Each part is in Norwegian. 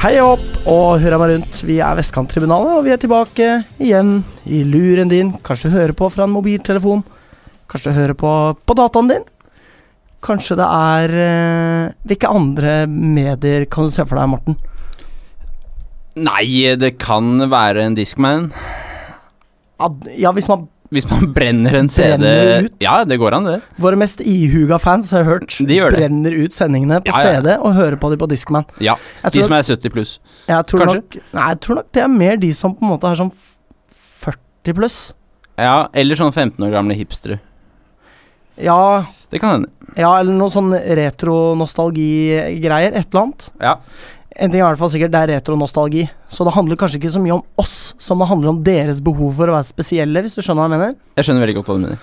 Hei og hopp og hurra meg rundt. Vi er Vestkanttribunalet, og vi er tilbake igjen i luren din. Kanskje du hører på fra en mobiltelefon. Kanskje du hører på på dataen din. Kanskje det er eh, Hvilke andre medier kan du se for deg, Morten? Nei, det kan være en Discman. Ad, ja, hvis man Hvis man brenner en CD Brenner ut? Ja, det går an, det. Våre mest ihuga fans har jeg hørt De gjør det. brenner ut sendingene på Ja, ja. CD og hører på de på Discman. Ja, Jeg De tror, som er 70 pluss. jeg tror kanskje? nok Nei, jeg tror nok det er mer de som på en måte har sånn 40 pluss. Ja, Eller sånn 15 år gamle hipstere. Ja, Det kan hende. Ja, eller noe sånn retro-nostalgi-greier. Et eller annet. Ja. En ting er i hvert fall sikkert, det er retro-nostalgi. Så det handler kanskje ikke så mye om oss som det handler om deres behov for å være spesielle, hvis du skjønner hva jeg mener. Jeg skjønner veldig godt hva du mener.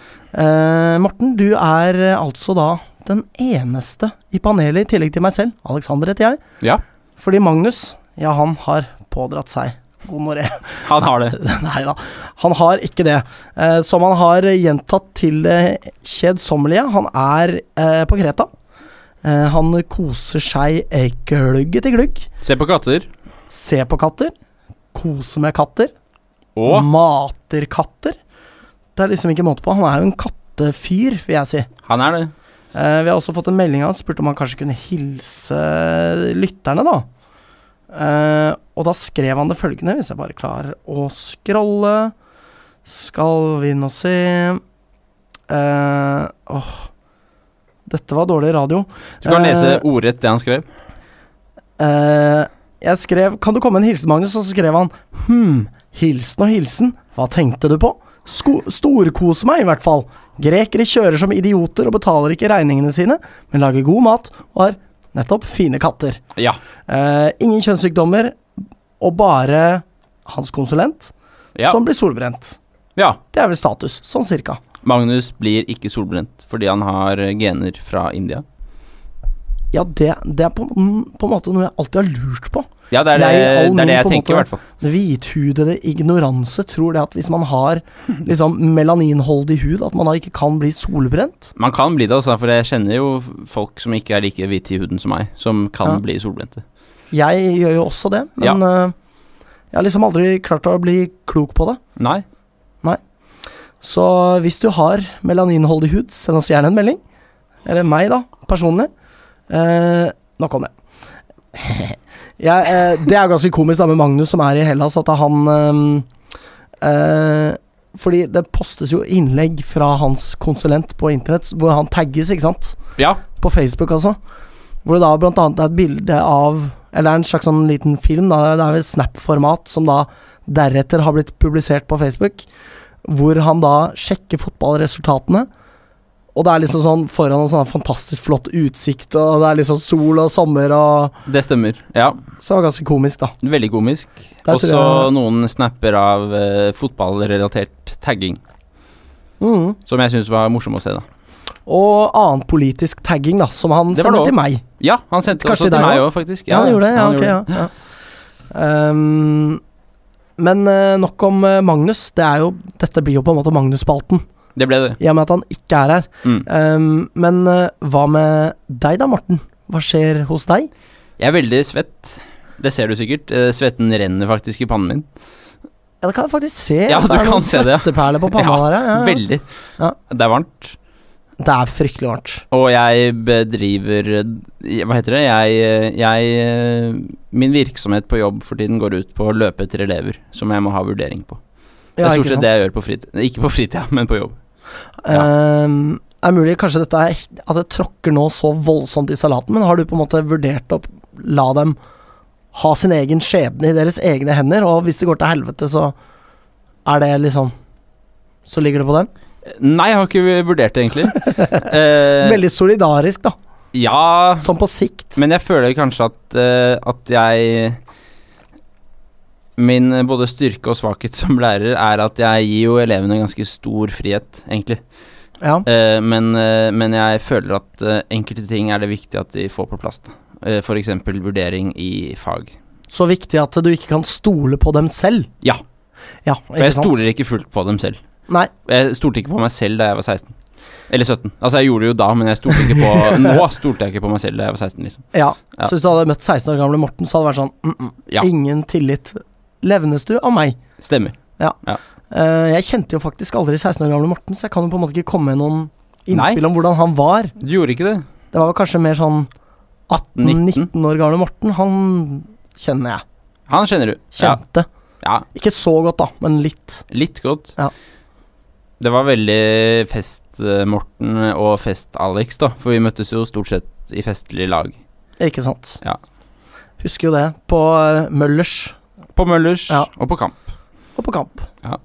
Eh, Morten, du er eh, altså da den eneste i panelet, i tillegg til meg selv. Alexander heter jeg. Ja. Fordi Magnus, ja, han har pådratt seg gonoré. Han har det. Nei da, han har ikke det. Eh, som han har gjentatt til eh, kjedsommelige, han er eh, på Kreta. Eh, han koser seg eh, glugg etter glugg. Se på katter. Se på katter. Kose med katter. Mm. Og Mater katter. Det er liksom ikke måte på. Han er jo en kattefyr, vil jeg si. han er det. Eh, vi har også fått en melding av han, spurte om han kanskje kunne hilse lytterne, da. Eh, og da skrev han det følgende, hvis jeg bare klarer å scrolle. Skal vi nå se eh, Åh, dette var dårlig radio. Du kan Eh, lese ordrett det han skrev. Eh, jeg skrev 'Kan du komme med en hilsen, Magnus?' Og så skrev han 'Hm, hilsen og hilsen. Hva tenkte du på?' Sko storkose meg, i hvert fall. Grekere kjører som idioter og betaler ikke regningene sine, men lager god mat og har nettopp fine katter. Ja. Eh, ingen kjønnssykdommer, og bare hans konsulent, Ja. som blir solbrent. ja. Det er vel status, sånn cirka. Magnus blir ikke solbrent fordi han har eh, gener fra India. Ja, det, det er på, på en måte noe jeg alltid har lurt på. Ja, det er det Jeg, jeg, all det er det min, jeg på en tenker, i måte. hvert fall. Hvithudede ignoranse tror det at hvis man har liksom melaninholdig hud, at man da ikke kan bli solbrent. Man kan bli det, altså, for jeg kjenner jo f- folk som ikke er like hvite i huden som meg, som kan Ja. bli solbrente. Jeg gjør jo også det, men eh, jeg har liksom aldri klart å bli klok på det. Nei. Så hvis du har melaninholdig hud, send oss gjerne en melding. Eller meg, da, personlig. Eh, nok om det. Jeg, eh, det er ganske komisk da med Magnus som er i Hellas, at han eh, eh, Fordi det postes jo innlegg fra hans konsulent på internett hvor han tagges, ikke sant? Ja. På Facebook, altså. Hvor det da blant annet er et bilde av Eller det er en slags sånn liten film, da. Det er vel Snap-format, som da deretter har blitt publisert på Facebook. Hvor han da sjekker fotballresultatene. Og det er liksom sånn foran en sånn fantastisk flott utsikt, og det er liksom sol og sommer og Det stemmer. Ja, Så det var ganske komisk, da. veldig komisk. Der tror Også jeg- noen snapper av eh, fotballrelatert tagging, Mhm. som jeg syns var morsom å se, da. Og annen politisk tagging, da, som han Det var sender det til meg. Ja, han sendte Kanskje også til til deg meg også? òg, faktisk. Ja, han gjorde det. Ja, ok, ja. ja. Um, men eh, nok om eh, Magnus. Det er jo, dette blir jo på en måte Magnus-spalten, Det ble det. i og med at han ikke er her. Mm. Um, men eh, hva med deg da, Morten? Hva skjer hos deg? Jeg er veldig svett. Det ser du sikkert. Eh, svetten renner faktisk i pannen min. Ja, det kan jeg faktisk se. Ja, at du det er kan noen se det, ja. svetteperler på panna Ja, der. Ja, ja. Veldig. Ja. Det er varmt. Det er fryktelig varmt. Og jeg bedriver eh, Hva heter det? Jeg, eh, jeg eh, Min virksomhet på jobb for tiden går ut på å løpe etter elever, som jeg må ha vurdering på. Det Ja, er ikke stort sett sant? det jeg gjør på fritid. Ikke på fritida, men på jobb. Um, er mulig kanskje dette er at jeg tråkker nå så voldsomt i salaten, men har du på en måte vurdert å la dem ha sin egen skjebne i deres egne hender, og hvis det går til helvete, så er det liksom Så ligger det på dem? Nei, jeg har ikke vurdert det, egentlig. Eh, Veldig solidarisk, da. Ja, Sånn på sikt. men jeg føler kanskje at, eh, at jeg Min eh, både styrke og svakhet som lærer er at jeg gir jo elevene ganske stor frihet, egentlig. Ja. Eh, men, eh, men jeg føler at eh, enkelte ting er det viktig at de får på plass. da. Eh, for F.eks. vurdering i fag. Så viktig at du ikke kan stole på dem selv. Ja. Ja, For jeg sant? stoler ikke fullt på dem selv. Nei. Jeg stolte ikke på meg selv da jeg var 16. Eller 17. Altså, jeg gjorde det jo da, men jeg stolte ikke på Nå stolte jeg ikke på meg selv da jeg var 16, liksom. Ja. Ja. Så hvis du hadde møtt 16 år gamle Morten, så hadde det vært sånn mm, mm, Ja. Ingen tillit. Levnes du av meg? Stemmer. Eh, jeg kjente jo faktisk aldri 16 år gamle Morten, så jeg kan jo på en måte ikke komme med noen Nei. innspill om hvordan han var. Du gjorde ikke det? Det var vel kanskje mer sånn 19. 18-19 år gamle Morten. Han kjenner jeg. Han kjenner du. Ja. Kjente. ja. Ikke så godt, da, men litt. Litt godt. Ja. Det var veldig Fest-Morten og Fest-Alex, da. For vi møttes jo stort sett i festlig lag. Ikke sant? Ja. Husker jo det. På eh, Møllers På Møllers Ja. og på Kamp. og på Kamp. Ja.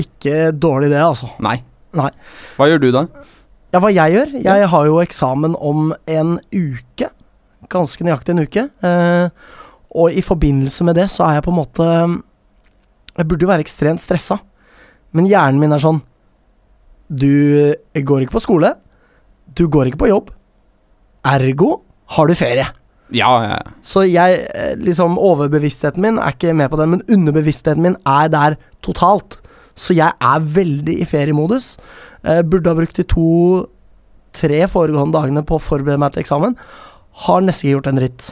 Ikke dårlig, det, altså. Nei. Nei. Hva gjør du da? Ja, hva jeg gjør? Jeg har jo eksamen om en uke. Ganske nøyaktig en uke. Eh, og i forbindelse med det så er jeg på en måte Jeg burde jo være ekstremt stressa, men hjernen min er sånn Du går ikke på skole. Du går ikke på jobb. Ergo har du ferie. Ja, ja, ja. Så jeg, eh, liksom overbevisstheten min er ikke med på den, men underbevisstheten min er der totalt. Så jeg er veldig i feriemodus. Eh, burde ha brukt de to-tre foregående dagene på å forberede meg til eksamen. Har nesten ikke gjort en dritt.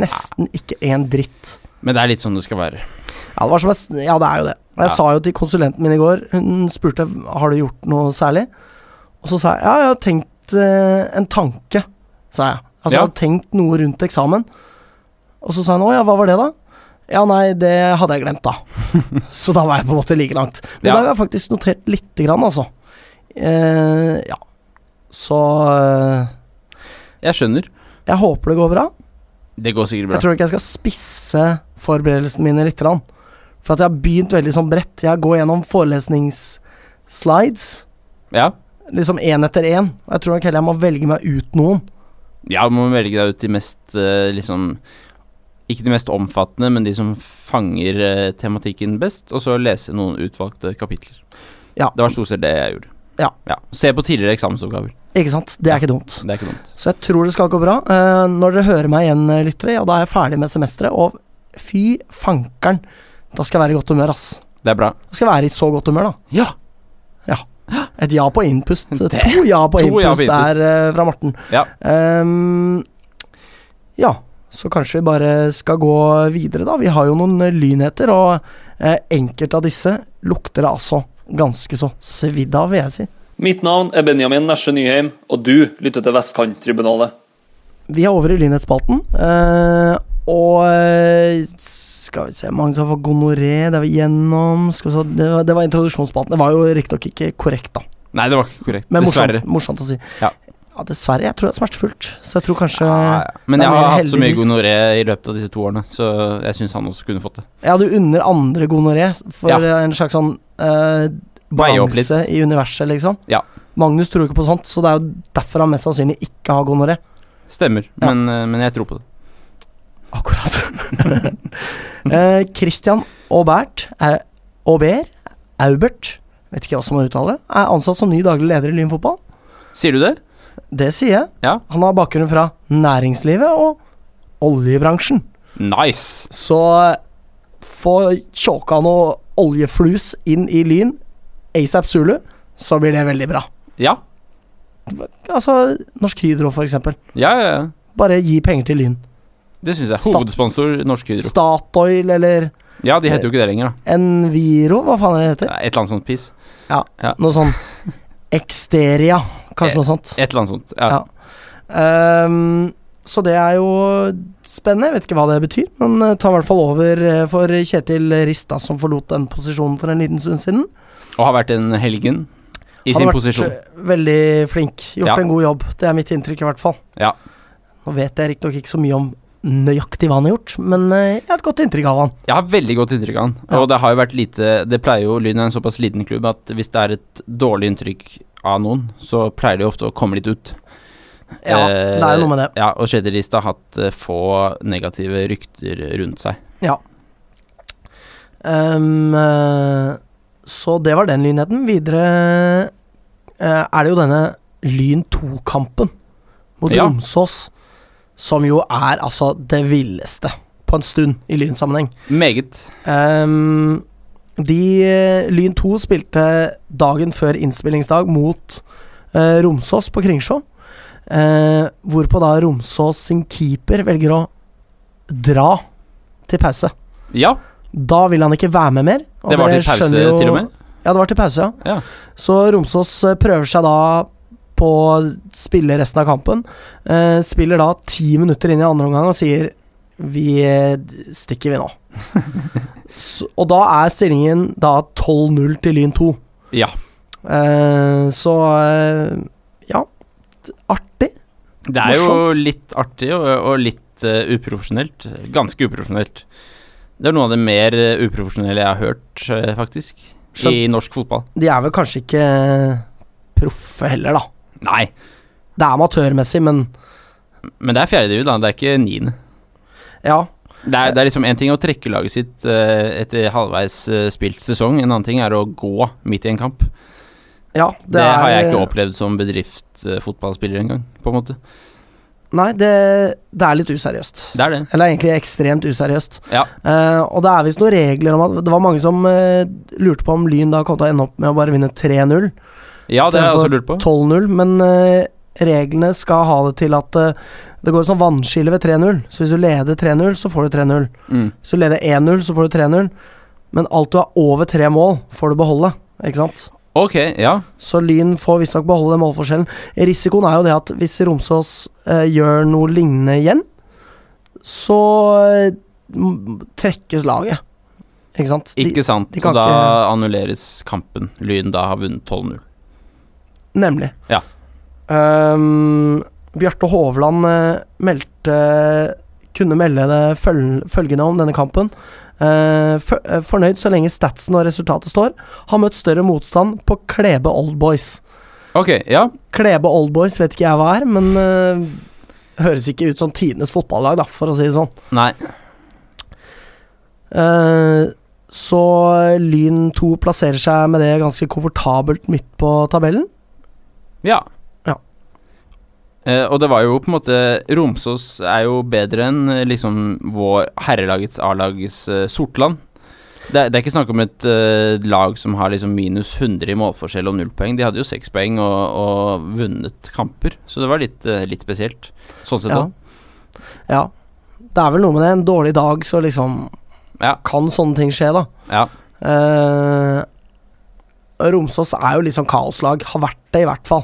Nesten ikke en dritt. Men det er litt sånn det skal være. Ja, det, var som jeg, s- ja, det er jo det. Og jeg Ja. sa jo til konsulenten min i går Hun spurte har du gjort noe særlig. Og så sa jeg ja, jeg har tenkt eh, en tanke. Sa jeg. Altså Ja. jeg hadde tenkt noe rundt eksamen. Og så sa hun å ja, hva var det da? Ja, nei, det hadde jeg glemt, da. så da var jeg på en måte like langt. Men Ja. i dag har jeg faktisk notert lite grann, altså. Eh, ja. Så eh, Jeg skjønner. jeg håper det går bra. Det går sikkert bra. Jeg tror ikke jeg skal spisse forberedelsene mine litt. grann. For at jeg har begynt veldig sånn bredt. Jeg går gjennom forelesningsslides Ja. liksom én etter én. Og jeg tror nok heller jeg må velge meg ut noen. ja, du må velge deg ut de mest eh, liksom Ikke de mest omfattende, men de som fanger eh, tematikken best, og så lese noen utvalgte kapitler. Ja. Det var stort sett det jeg gjorde. Ja. Se på tidligere eksamensoppgaver. Ikke sant? Det er ikke dumt. Det er ikke dumt. Så jeg tror det skal gå bra. Eh, når dere hører meg igjen, eh, lyttere, ja, da er jeg ferdig med semesteret. Og fy fankeren, da skal jeg være i godt humør, ass. Det er bra. Da skal jeg være i så godt humør, da. Ja! Et ja på innpust. Det- To ja på to ja innpust på innpust. der eh, fra Morten. Ja. Ehm, ja, så kanskje vi bare skal gå videre, da. Vi har jo noen eh, lynheter, og eh, enkelte av disse lukter det altså ganske så svidd av, vil jeg si. Mitt navn er Benjamin Nesje Nyheim, og du lytter til Vestkanttribunalet. Vi er over i lynhetsspalten, eh, og eh, skal vi se Mange som får gonoré, det er vi gjennom skal vi se, det, var- det var introduksjonsspalten. Det var jo riktignok ikke korrekt, da. Nei, det var ikke korrekt. Men Dessverre. morsomt, morsomt å si. Ja. ja, dessverre. Jeg tror det er smertefullt, så jeg tror kanskje Ja, ja. Men det er jeg har mer hatt så mye heldigvis. gonoré i løpet av disse to årene, så jeg syns han også kunne fått det. Ja, du unner andre gonoré for Ja. eh, en slags sånn eh, Veie opp balanse i universet, liksom. Ja. Magnus tror ikke på sånt, så det er jo derfor han mest sannsynlig ikke har gonoré. Stemmer, Ja. men, eh, men jeg tror på det. Akkurat. eh, Christian Aubert, eh, Aubert, Aubert, vet ikke hvordan man uttaler det, er ansatt som ny daglig leder i Lyn fotball. Sier du det? Det sier jeg. Ja. Han har bakgrunn fra næringslivet og oljebransjen. Nice! Så få tjåka noe oljeflus inn i Lyn, ASAP Zulu, så blir det veldig bra. Ja. Altså Norsk Hydro, for eksempel. Ja, ja, ja. Bare gi penger til Lyn. Det syns jeg. Stat- Hovedsponsor Norsk Hydro. Statoil eller Ja, de heter jo ikke det lenger, da. Enviro, hva faen er det Det heter? er Et eller annet sånt piss. Noe sånn Exteria, kanskje noe sånt. Et eller annet sånt. Ja. Ja. Ehm, så det er jo spennende. Jeg vet ikke hva det betyr, men eh, tar i hvert fall over eh, for Kjetil Rista, som forlot den posisjonen for en liten stund siden. Og har vært en helgen i Han sin har vært, posisjon. eh, Veldig flink. Gjort Ja. en god jobb. Det er mitt inntrykk, i hvert fall. Ja. Nå vet jeg riktignok ikke så mye om nøyaktig hva han har gjort, men eh, jeg har et godt inntrykk av han. Jeg har veldig godt inntrykk av han. Ja. Og det har jo vært lite Det pleier jo Lyn er en såpass liten klubb at hvis det er et dårlig inntrykk av noen, så pleier det jo ofte å komme litt ut. Ja, Eh, det er jo noe med det. Ja, og Kjetil Rist har hatt eh, få negative rykter rundt seg. Ehm, eh, så det var den lynheten. Videre eh, er det jo denne Lyn 2-kampen mot Ja. Romsås, som jo er altså det villeste på en stund i Lyn-sammenheng. Meget. Ehm, de eh, Lyn 2 spilte dagen før innspillingsdag mot eh, Romsås på Kringsjå. Eh, hvorpå da Romsås sin keeper velger å dra til pause. Ja, Da vil han ikke være med mer. og det var dere til pause, skjønner jo- til og med. Ja, det var til pause, ja. Ja. Så Romsås eh, prøver seg da på å spille resten av kampen. Eh, spiller da ti minutter inn i andre omgang og sier Vi eh, stikker, vi nå. så, og da er stillingen da 12-0 til Lyn 2. Ja. Eh, så eh, Ja. Artig. Det er jo Morsomt. litt artig og, og litt eh, uprofesjonelt. Ganske uprofesjonelt. Det er noe av det mer eh, uprofesjonelle jeg har hørt, eh, faktisk, Skjønt. i norsk fotball. De er vel kanskje ikke proffe heller, da. Nei, Det er amatørmessig, men men det er fjerdedivisjon, da. Det er ikke niende. ja. Det er, det er liksom én ting å trekke laget sitt eh, etter halvveis eh, spilt sesong, en annen ting er å gå midt i en kamp. ja Det, har jeg er- eh, ikke opplevd som bedriftsfotballspiller engang, på en måte. Nei, det, det er litt useriøst. Det er det. Eller egentlig ekstremt useriøst. Ja. Eh, og det er visst noen regler om at Det var mange som eh, lurte på om Lyn da kom til å ende opp med å bare vinne 3-0, Ja, det har jeg også lurt på. 12-0, men eh, reglene skal ha det til at eh, det går som vannskille ved 3-0. Så hvis du leder 3-0, så får du 3-0. Mm. Hvis du leder 1-0, så får du 3-0. Men alt du har over tre mål, får du beholde. Ikke sant? Ok, ja. Så Lyn får visstnok beholde den målforskjellen. Risikoen er jo det at hvis Romsås eh, gjør noe lignende igjen, så eh, m- trekkes laget. Ikke sant? De- Ikke sant. de kan og da ikke- annulleres kampen. Lyn da har vunnet 12-0. Nemlig. Ja. Ehm, Bjarte Hovland eh, meldte kunne melde det føl følgende om denne kampen. Eh, fø- eh, fornøyd så lenge statsen og resultatet står. Har møtt større motstand på Klebe Old Boys. Ok, ja. Klebe Old Boys vet ikke jeg hva er, men eh, høres ikke ut som tidenes fotballag, da, for å si det sånn. Nei. Eh, så Lyn 2 plasserer seg med det ganske komfortabelt midt på tabellen. Ja. Ja. Eh, og det var jo på en måte Romsås er jo bedre enn eh, liksom vår herrelagets A-lags eh, Sortland. Det er, det er ikke snakk om et eh, lag som har liksom minus 100 i målforskjell og null poeng. De hadde jo seks poeng og, og vunnet kamper, så det var litt, eh, litt spesielt. Sånn sett Ja. òg. ja. Det er vel noe med det. En dårlig dag, så liksom Ja. Kan sånne ting skje, da. Ja. Eh, Romsås er jo litt sånn kaoslag. Har vært det, i hvert fall.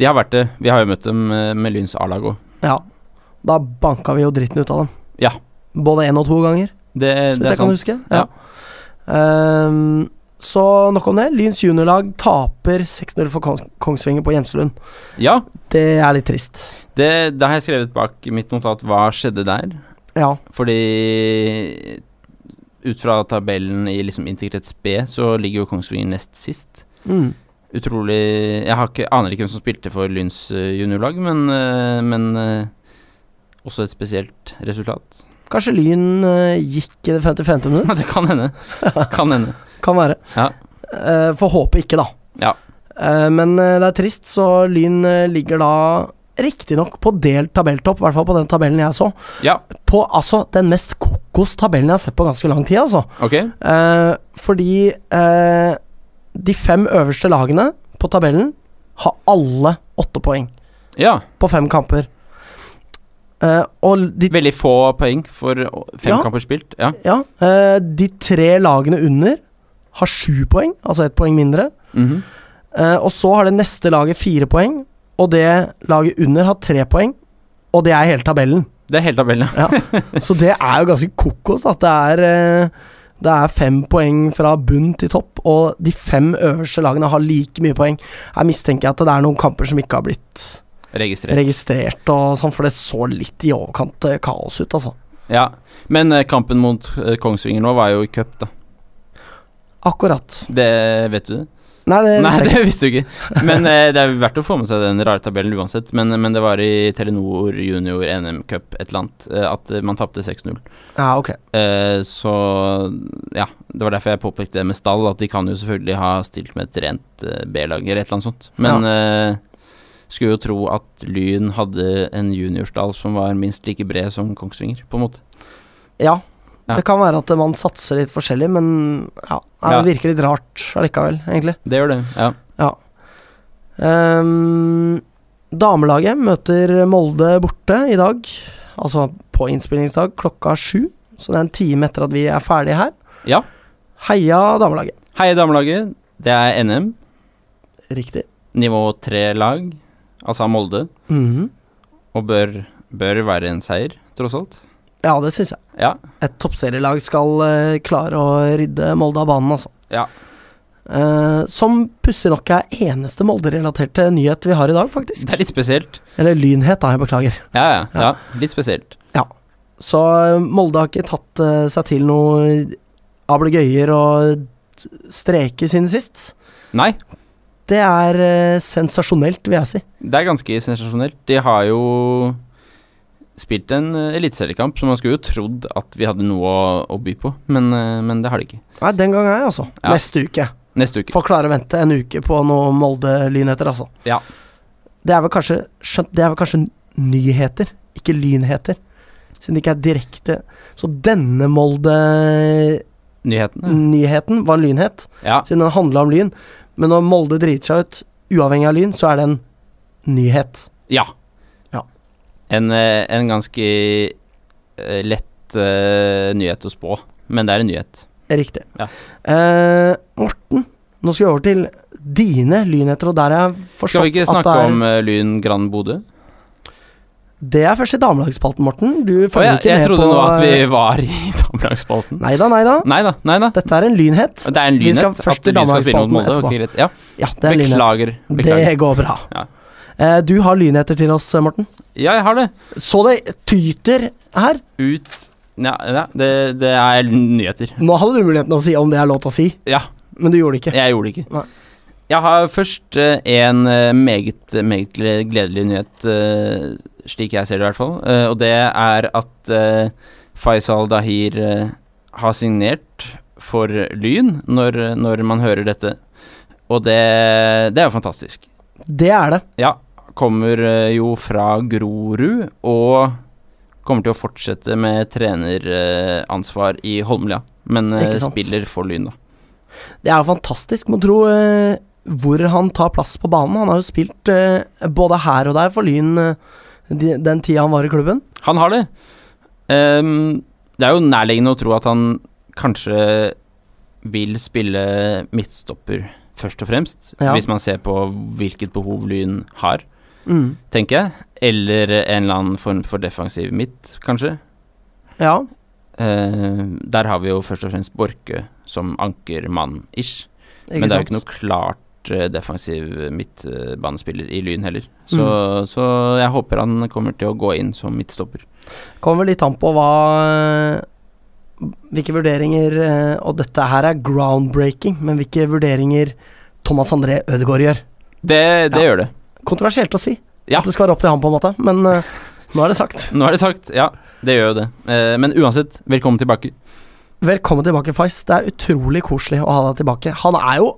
De har vært det. Vi har jo møtt dem eh, med Lyns A-lag òg. Ja. Da banka vi jo dritten ut av dem. Ja. Både én og to ganger. Det, det er Så vidt sant. jeg kan huske, ja. Ja. Ehm, så nok om det. Lyns juniorlag taper 6-0 for Kongs Kongsvinger på Gjemselund. ja. Det er litt trist. Det, det har jeg skrevet bak i mitt notat. Hva skjedde der? Ja. Fordi ut fra tabellen i liksom Integrets B, så ligger jo Kongsvinger nest sist. Mm. Utrolig Jeg har ikke, aner ikke hvem som spilte for Lyns eh, juniorlag, men, eh, men eh, også et spesielt resultat. Kanskje Lyn eh, gikk i det 55. minutt? det kan hende. Kan hende. Kan være. Ja. Eh, får håpe ikke, da. Ja. Eh, men eh, det er trist, så Lyn eh, ligger da riktignok på delt tabelltopp, i hvert fall på den tabellen jeg så. Ja, På altså den mest kokos tabellen jeg har sett på ganske lang tid, altså. ok. Eh, fordi eh, de fem øverste lagene på tabellen har alle åtte poeng Ja. på fem kamper. Eh, og de, Veldig få poeng for å- fem Ja. kamper spilt. Ja. ja, eh, de tre lagene under har sju poeng, altså ett poeng mindre. Mhm. Eh, og så har det neste laget fire poeng, og det laget under har tre poeng. Og det er hele tabellen. Det er hele tabellen, ja. Så det er jo ganske kokos at det er eh, Det er fem poeng fra bunn til topp, og de fem øverste lagene har like mye poeng. Her mistenker jeg at det er noen kamper som ikke har blitt Registrert. registrert og sånn, for det så litt i overkant eh, kaos ut, altså. Ja. Men eh, kampen mot eh, Kongsvinger nå var jo i cup, da. Akkurat. Det vet du det? Nei, det Nei, visste jeg ikke. det visste du ikke. Men eh, det er jo verdt å få med seg den rare tabellen uansett. Men, men det var i Telenor junior NM Cup et eller annet eh, at eh, man tapte 6-0. Ja, ok. Eh, så ja, det var derfor jeg påpekte det med stall, at de kan jo selvfølgelig ha stilt med et rent eh, B-lag eller et eller annet sånt. Men eh, skulle jo tro at Lyn hadde en juniorstall som var minst like bred som Kongsvinger, på en måte. Ja. Ja. Det kan være at man satser litt forskjellig, men ja, det Ja. virker litt rart allikevel, egentlig. Det gjør det, ja. Ja. Ehm, damelaget møter Molde borte i dag, altså på innspillingsdag klokka sju. Så det er en time etter at vi er ferdige her. Ja. Heia damelaget. Hei, damelaget. Det er NM, Riktig. nivå tre-lag, altså Molde, Mhm. og bør, bør være en seier, tross alt. Ja, det syns jeg. Ja. Et toppserielag skal eh, klare å rydde Molde av banen, altså. Ja. Eh, som pussig nok er eneste Molde-relaterte nyhet vi har i dag, faktisk. Det er litt spesielt. Eller lynhet, da. Jeg beklager. Ja, ja. ja litt spesielt. Så eh, Molde har ikke tatt eh, seg til noe ablegøyer og t- streker siden sist. Nei, Det er eh, sensasjonelt, vil jeg si. det er ganske sensasjonelt. De har jo spilt en eh, eliteseriekamp, så man skulle jo trodd at vi hadde noe å, å by på, men, eh, men det har de ikke. Nei, den gang er jeg, altså. Ja. Neste uke. Neste uke. Får klare å vente en uke på noe Molde-lynheter, altså. Ja. Det er vel kanskje skjønt, Det er vel kanskje nyheter, ikke lynheter. Siden det ikke er direkte Så denne Molde-nyheten Mm. Nyhetene. var lynhet, Ja. siden den handla om lyn. Men når Molde driter seg ut, uavhengig av lyn, så er det en nyhet. Ja. Ja. En, eh, en ganske eh, lett eh, nyhet å spå, men det er en nyhet. Riktig. Ja. Eh, Morten, nå skal vi over til dine lynheter, og der har jeg Skal vi forstått ikke at det snakke er om eh, Lyn Grand Bodø? Det er først i damelagsspalten, Morten. Du Å følger ja, ikke jeg med på eh, trodde nå at vi var i damelagsspalten. Nei da, nei da. Nei da, nei da. Dette er en lynhet. Det er en Vi lynhet skal at først til Lyn skal spille mot damelagsspalten Molde. etterpå. ok, greit. Ja. Ja, det er en lynhet. Beklager. beklager. Det går bra. Ja. Eh, du har lynheter til oss, eh, Morten. Ja, jeg har det. Så det tyter her. Ut Ja, ja det, det er nyheter. Nå hadde du muligheten å si om det er lov til å si, Ja, men du gjorde det ikke. jeg gjorde det ikke. Nei. Jeg har først eh, en eh, meget, meget gle- gledelig nyhet, eh, slik jeg ser det i hvert fall. eh, Og det er at eh, Faisal Dahir eh, har signert for Lyn, når, når man hører dette. Og det, det er jo fantastisk. Det er det. Ja, kommer eh, jo fra Grorud og kommer til å fortsette med treneransvar i Holmlia. Men eh, Ikke sant. spiller for Lyn, da. Det er jo fantastisk, må tro, eh, hvor han tar plass på banen. Han har jo spilt eh, både her og der for Lyn eh, de, den tida han var i klubben. Han har det. Ehm, det er jo nærliggende å tro at han kanskje vil spille midtstopper, først og fremst. Ja. Hvis man ser på hvilket behov Lyn har, Mm. tenker jeg. Eller en eller annen form for defensiv midt, kanskje. Ja, Eh, der har vi jo først og fremst Borke som ankermann-ish. ikke Men det er jo sant. ikke noe klart eh, defensiv midtbanespiller i Lyn heller. Så, så jeg håper han kommer til å gå inn som midtstopper. Kommer vel litt an på hva eh, Hvilke vurderinger eh, Og dette her er groundbreaking, men hvilke vurderinger Thomas André Ødegaard gjør. Det, det Ja. gjør det. Kontroversielt å si. Ja. At det skal være opp til ham, på en måte. Men eh, nå er det sagt. Nå er det sagt. Ja, det gjør jo det. Eh, men uansett, velkommen tilbake. Velkommen tilbake, Fais. Det er utrolig koselig å ha deg tilbake. Han er jo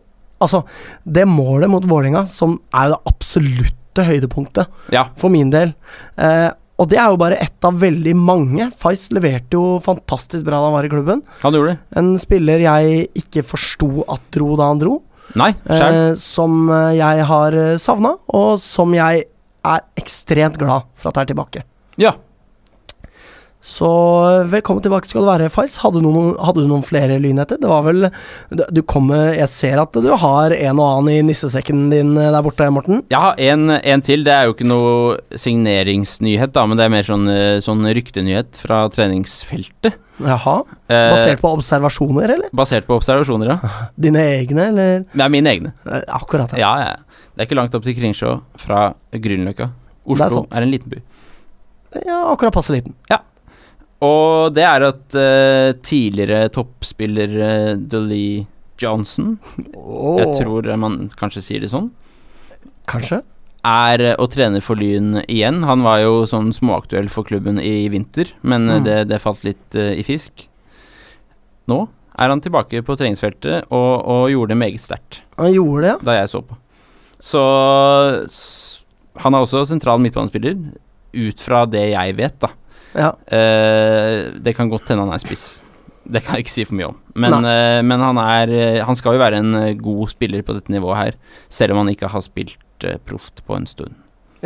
Altså, det målet mot Vålerenga, som er jo det absolutte høydepunktet Ja, for min del eh, Og det er jo bare ett av veldig mange. Fais leverte jo fantastisk bra da han var i klubben. han gjorde det. En spiller jeg ikke forsto at dro da han dro. Nei, sjæl. Eh, som eh, jeg har savna, og som jeg er ekstremt glad for at er tilbake. Ja. Så eh, velkommen tilbake skal du være, Fais. Hadde, du noen- hadde du noen flere lynheter? Det var vel du- Du kom med Jeg ser at du har en og annen i nissesekken din eh, der borte, Morten. Jeg har en, en til. Det er jo ikke noe signeringsnyhet, da, men det er mer sånn, eh, sånn ryktenyhet fra treningsfeltet. Jaha. Eh, Basert på observasjoner, eller? basert på observasjoner, ja. Dine egne, eller? Det er mine egne. Eh, Akkurat. Ja. Ja, ja. Det er ikke langt opp til Kringsjå fra Grünerløkka. Oslo sant. er, en liten by. ja, akkurat passe liten. Og det er at eh, tidligere toppspiller uh, Dolly Johnson, jeg Åh, tror man kanskje sier det sånn, Kanskje? er eh, å trene for Lyn igjen. Han var jo sånn småaktuell for klubben i vinter, men eh, Mm. det, det falt litt eh, i fisk. Nå er han tilbake på treningsfeltet og, og gjorde det meget sterkt. Han gjorde det, ja. da jeg så på. Så s- han er også sentral midtbanespiller, ut fra det jeg vet, da. ja. Eh, det kan godt hende han er spiss. Det kan jeg ikke si for mye om. Men, eh, men han, er, eh, han skal jo være en eh, god spiller på dette nivået her, selv om han ikke har spilt vært eh, proft på en stund.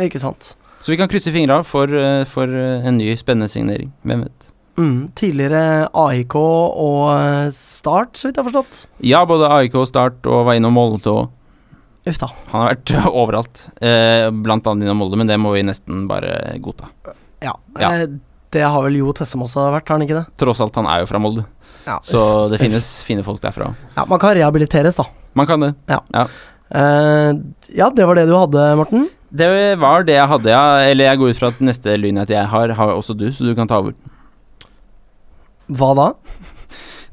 Ikke sant. Så vi kan krysse fingra for, eh, for eh, en ny spennende signering. Hvem vet. Mm, tidligere AIK og eh, Start, så vidt jeg har forstått. Ja, både AIK og Start og var innom Molde òg. Uff da. Han har vært overalt, eh, blant annet innom Molde, men det må vi nesten bare godta. Ja. Ja. Eh, det har vel Jo Tessem også vært, har han ikke det? Tross alt, han er jo fra Molde, Ja, uff. så det finnes fine folk derfra òg. ja, man kan rehabiliteres, da. Man kan det. Eh, ja, det var det du hadde, Morten. Det var det jeg hadde, ja. Eller jeg går ut fra at neste lynhet jeg har, har også du, så du kan ta over. Hva da?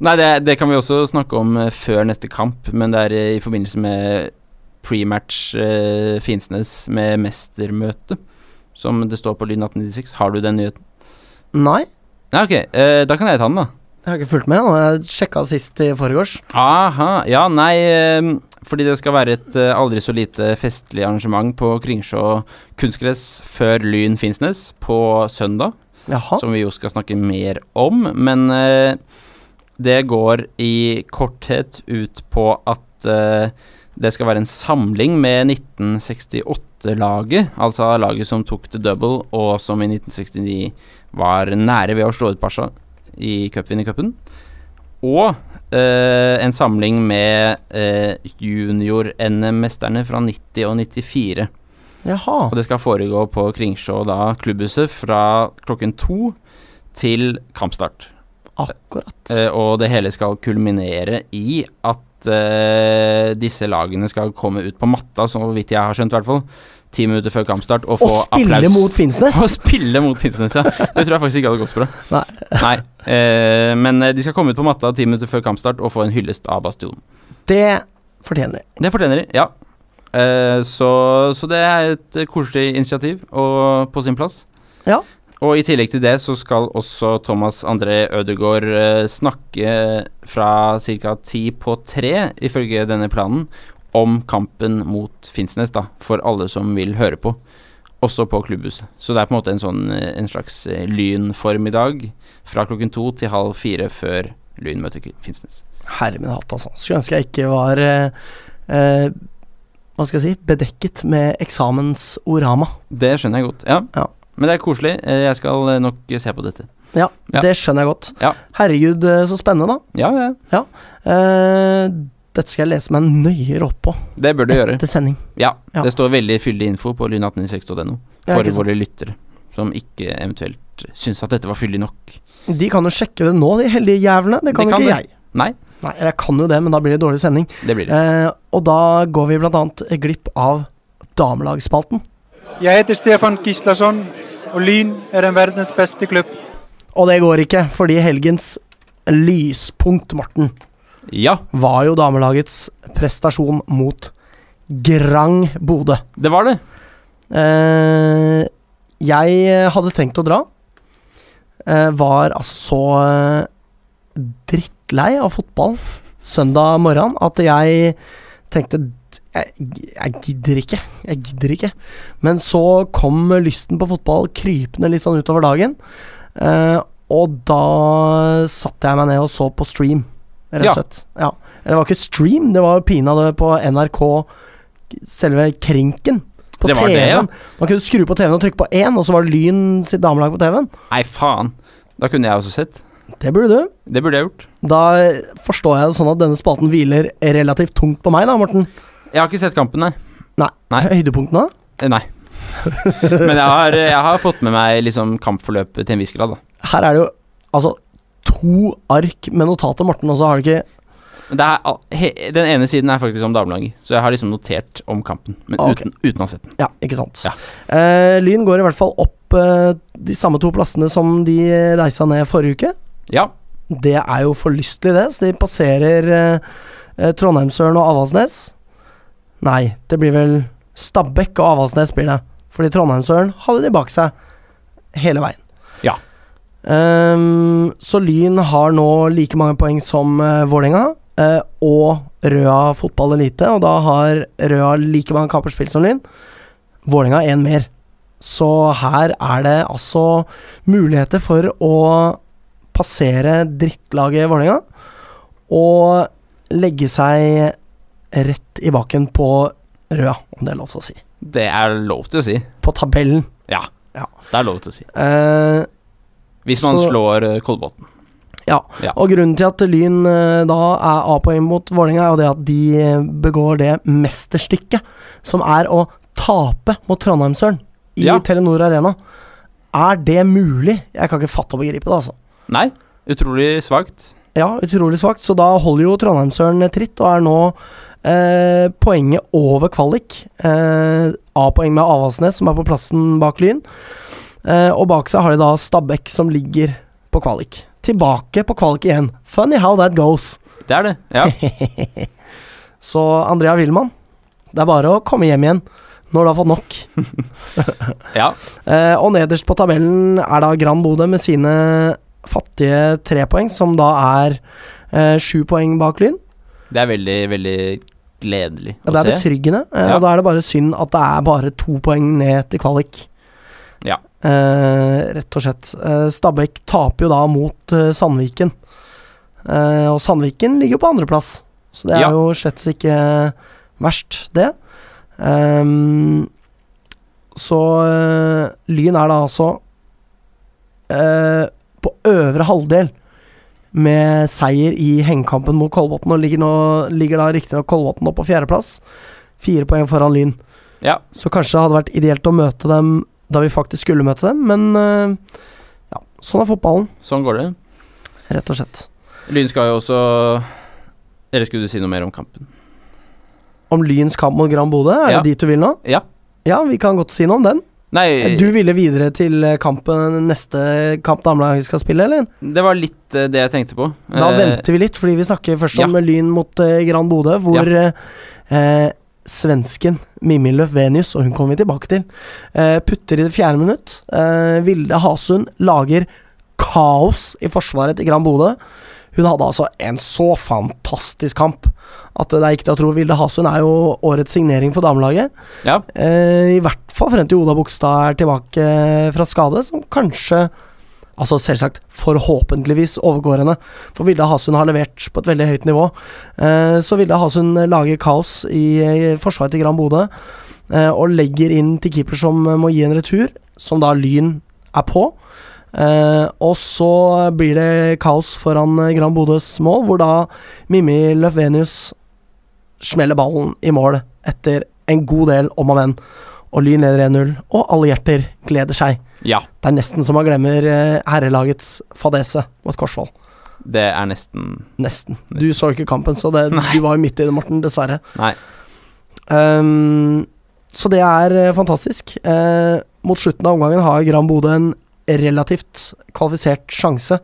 Nei, det, det kan vi også snakke om eh, før neste kamp, men det er eh, i forbindelse med prematch eh, Finnsnes med mestermøte, som det står på Lyn 1896. Har du den nyheten? Nei, Nei, ok, eh, da kan jeg ta den, da. jeg har ikke fulgt med. og Jeg sjekka sist i forgårs. Aha. Ja, nei, eh, fordi det skal være et eh, aldri så lite festlig arrangement på Kringsjå kunstgress før Lyn Finnsnes på søndag. Jaha. som vi jo skal snakke mer om. Men eh, det går i korthet ut på at eh, det skal være en samling med 1968-laget, altså laget som tok the double, og som i 1969 var nære ved å slå ut Pasha i cupvinnercupen. Og eh, en samling med eh, junior-NM-mesterne fra 90 og 94. Jaha. Og det skal foregå på Kringsjå da, klubbhuset fra klokken to til kampstart. Akkurat. Eh, og det hele skal kulminere i at eh, disse lagene skal komme ut på matta, så vidt jeg har skjønt i hvert fall, ti minutter før kampstart og få Å spille applaus. mot Finnsnes! Å spille mot Finnsnes, ja. Det tror jeg faktisk ikke hadde gått så bra. Nei. Nei. Eh, men eh, de skal komme ut på matta ti minutter før kampstart og få en hyllest av Bastionen. Det fortjener de. Det fortjener de, ja. Eh, så, så det er et eh, koselig initiativ og på sin plass. Ja. Og i tillegg til det så skal også Thomas André Ødegaard eh, snakke fra ca. ti på tre, ifølge denne planen, om kampen mot Finnsnes, da, for alle som vil høre på. Også på klubbhuset. Så det er på en måte en, sånn, eh, en slags eh, lynformiddag fra klokken to til halv fire før Lyn møter Finnsnes. Herre min hatt, altså. Skulle ønske jeg ikke var eh, eh, Hva skal jeg si bedekket med eksamensorama. Det skjønner jeg godt, ja. Ja. Men det er koselig. Eh, Jeg skal eh, nok se på dette. Ja, Ja. det skjønner jeg godt. Ja. Herregud, eh, så spennende, da. Ja, ja. Eh, dette skal jeg lese meg nøyere opp på Det bør du gjøre. etter sending. Ja. Ja. Det står veldig fyldig info på lyn1896.no Ja, for ikke sant. våre lyttere som ikke eventuelt syns at dette var fyldig nok. De kan jo sjekke det nå, de heldige jævlene. Det kan De jo kan ikke det. jeg. Nei, Nei, eller jeg kan jo det, men da blir det dårlig sending. det blir det. Eh, og da går vi blant annet glipp av damelagsspalten. Jeg heter Stefan Gislason, og Lyn er um en verdens beste klubb. Og det går ikke, fordi helgens lyspunkt, Morten, Ja, var jo damelagets prestasjon mot Grang Bodø. det var det. Eh, jeg hadde tenkt å dra. Eh, var altså så eh, drittlei av fotball søndag morgen at jeg tenkte "D- jeg, jeg gidder ikke. Jeg gidder ikke. Men så kom lysten på fotball krypende litt sånn utover dagen. Eh, og da satte jeg meg ned og så på stream, rett Ja. og slett. Ja. Eller det var ikke stream, det var pinadø på NRK, selve krinken. På Det var det, ja. TV-en. Man kunne skru på TV-en og trykke på én, og så var det Lyn sitt damelag på TV-en. Nei, faen. Da kunne jeg også sett. Det burde du. Det burde jeg gjort. Da forstår jeg det sånn at denne spalten hviler relativt tungt på meg, da, Morten. Jeg har ikke sett kampen, nei. Nei. Høydepunktene? Eh, Nei. Men jeg har, eh, jeg har fått med meg liksom kampforløpet til en viss grad, da. Her er det jo altså to ark med notater, Morten, og så har du ikke Men Det er, al- he, den ene siden er faktisk om damelaget, så jeg har liksom notert om kampen. Men Ah, ok. uten, uten å ha sett den. Ja, ikke sant. Ja. Eh, lyn går i hvert fall opp eh, de samme to plassene som de reisa ned forrige uke. Ja, Det er jo forlystelig, det. Så de passerer eh, eh, Trondheimsøren og Avaldsnes. Nei, det blir vel Stabæk og Avaldsnes blir det. Fordi Trondheimsøren hadde de bak seg hele veien. Ja. Ehm, så Lyn har nå like mange poeng som uh, Vålerenga. eh, og Røa fotball elite, og da har Røa like mange kamper spilt som Lyn. Vålerenga én mer. Så her er det altså muligheter for å passere drittlaget Vålerenga og legge seg rett i baken på Røa, om det er lov til å si. Det er lov til å si. på tabellen. Ja. Ja. Det er lov til å si. Eh, Hvis man Så- slår eh, Kolbotn. Ja. Og grunnen til at Lyn eh, da er A-poeng mot Vålerenga, er jo det at de eh, begår det mesterstykket som er å tape mot Trondheimsølen i Ja. Telenor Arena. Er det mulig? Jeg kan ikke fatte og begripe det, altså. Nei, utrolig svakt. Ja, utrolig svakt, så da holder jo Trondheimsølen tritt og er nå eh, poenget over kvalik. Eh, A-poeng med Avaldsnes, som er på plassen bak Lyn. Eh, og bak seg har de da Stabæk, som ligger på kvalik. Tilbake på kvalik igjen. Funny how that goes. Det er det. Ja. Så Andrea Willmann, det er bare å komme hjem igjen når du har fått nok. ja. Eh, og nederst på tabellen er da Gran Bodø med sine fattige tre poeng, som da er eh, sju poeng bak Lyn. Det er veldig, veldig gledelig Ja, å det er se. betryggende, eh, Ja. og da er det bare synd at det er bare to poeng ned til kvalik. Ja. Eh, rett og slett. Eh, Stabæk taper jo da mot eh, Sandviken. Eh, og Sandviken ligger jo på andreplass, så det er Ja. jo slett ikke verst, det. Ehm, så eh, Lyn er da altså eh, på øvre halvdel med seier i hengekampen mot Kolbotn, og ligger, nå, ligger da riktignok Kolbotn opp på fjerdeplass. Fire poeng foran Lyn. Ja. Så kanskje det hadde vært ideelt å møte dem da vi faktisk skulle møte dem, men eh, ja, sånn er fotballen, Sånn går det. rett og slett. Lyn skal jo også Eller skulle du si noe mer om kampen? Om Lyns kamp mot Gran Bodø, er Ja. det dit du vil nå? Ja. Eh. Ja, vi kan godt si noe om den. Nei, Eh, Du ville videre til eh, kampen neste kamp damelaget skal spille, eller? det var litt eh, det jeg tenkte på. Da Eh, venter vi litt, fordi vi snakker først om Lyn mot eh, Gran Bodø, hvor eh, eh, svensken Mimmi Löfvenius, og hun kommer vi tilbake til, eh, putter i det fjerde minutt. Eh, Vilde Hasund lager kaos i forsvaret til Gran Bodø. Hun hadde altså en så fantastisk kamp at det er ikke til å tro. Vilde Hasund er jo årets signering for damelaget. Ja. Eh, I hvert fall frem til Oda Bogstad er tilbake fra skade, som kanskje Altså selvsagt, forhåpentligvis overgår henne, for Vilde Hasund har levert på et veldig høyt nivå. Eh, Så Vilde Hasund lager kaos i eh, forsvaret til Gran Bodø, eh, og legger inn til keeper som eh, må gi en retur, som da Lyn er på. Eh, Og så blir det kaos foran eh, Gran Bodøs mål, hvor da Mimmi Løfvenius smeller ballen i mål etter en god del om og men. Og Lyn leder 1-0, og alle hjerter gleder seg. ja. Det er nesten så man glemmer eh, herrelagets fadese mot Korsvoll. Det er nesten Nesten. Du så ikke kampen, så det, du var jo midt i det, Morten, dessverre. Nei. Ehm, så det er eh, fantastisk. Eh, mot slutten av omgangen har Gran Bodø en relativt kvalifisert sjanse,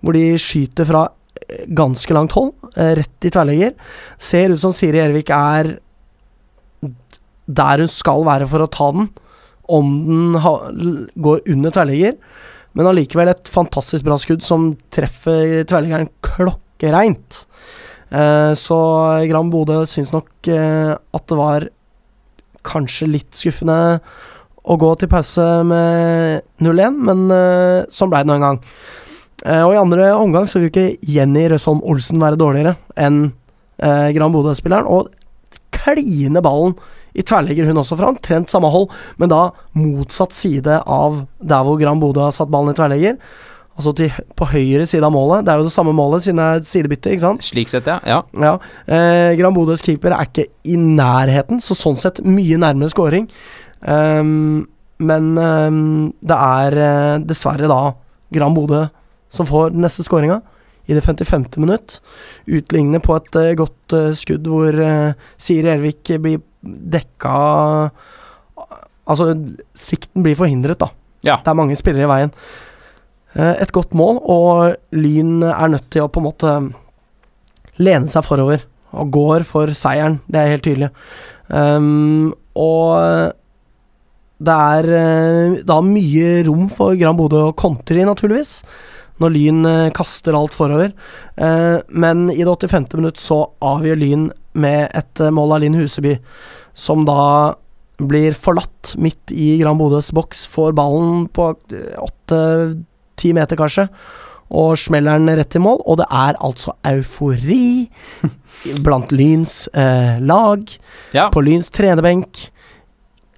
hvor de skyter fra eh, ganske langt hold, eh, rett i tverrlegger. Ser ut som Siri Ervik er d- der hun skal være for å ta den, om den ha, l- går under tverrlegger. Men allikevel et fantastisk bra skudd som treffer tverrleggeren klokkereint. Eh, så Gran Bodø syns nok eh, at det var kanskje litt skuffende å gå til pause med 0-1, men eh, sånn blei det nå en gang. Eh, og i andre omgang så vil jo ikke Jenny Røsholm Olsen være dårligere enn eh, Gran Bodø-spilleren, og kline ballen i tverrlegger hun også fra omtrent samme hold, men da motsatt side av der hvor Gran Bodø har satt ballen i tverrlegger. Altså til, på høyre side av målet. Det er jo det samme målet siden det er et sidebytte, ikke sant? Slik sett, ja. ja. Ja. Eh, Gran Bodøs keeper er ikke i nærheten, så sånn sett mye nærmere scoring. Ehm, men ehm, det er eh, dessverre da Gran Bodø som får den neste scoringa. I det 55. minutt. Utlignende på et eh, godt eh, skudd hvor eh, Siri Ervik blir dekka Altså, sikten blir forhindret, da. Ja. Det er mange spillere i veien. Eh, et godt mål, og Lyn er nødt til å på en måte lene seg forover og går for seieren. Det er helt tydelig. Ehm, og det er eh, da mye rom for Gran Bodø å kontre i, naturligvis, når Lyn eh, kaster alt forover. Eh, men i det 85. minutt så avgjør Lyn med et eh, mål av Linn Huseby, som da blir forlatt midt i Gran Bodøs boks, får ballen på åtte-ti meter, kanskje og smeller den rett i mål. Og det er altså eufori blant Lyns eh, lag, ja. på Lyns trenerbenk,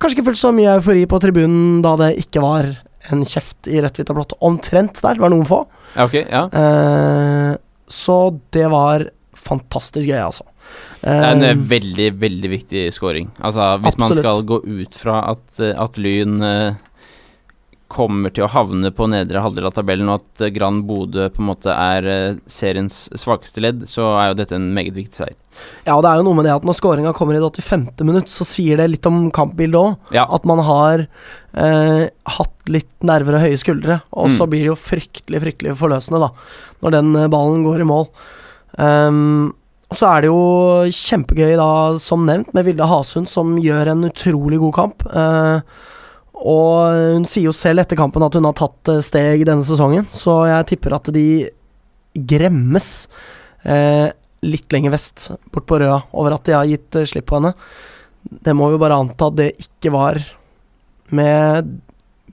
Kanskje ikke fullt så mye eufori på tribunen da det ikke var en kjeft i rødt, hvitt og blått. Omtrent der. Det var noen få. Ja, ok, ja. Eh, så det var fantastisk gøy, altså. Det er Eh, en veldig, veldig viktig scoring. Altså, hvis man Absolutt. skal gå ut fra at, eh, at Lyn eh, kommer til å havne på nedre halvdel av tabellen, og at eh, Grand Bodø på en måte er eh, seriens svakeste ledd, så er jo dette en meget viktig seier. ja, og det er jo noe med det at når scoringa kommer i det 85. minutt, så sier det litt om kampbildet òg. Ja, At man har eh, hatt litt nerver og høye skuldre, og så Mm. blir det jo fryktelig, fryktelig forløsende, da, når den eh, ballen går i mål. Ehm, og så er det jo kjempegøy, da, som nevnt, med Vilde Hasund, som gjør en utrolig god kamp. Eh, og hun sier jo selv etter kampen at hun har tatt eh, steg denne sesongen, så jeg tipper at de gremmes eh, litt lenger vest, bort på Røa, over at de har gitt eh, slipp på henne. Det må vi bare anta at det ikke var med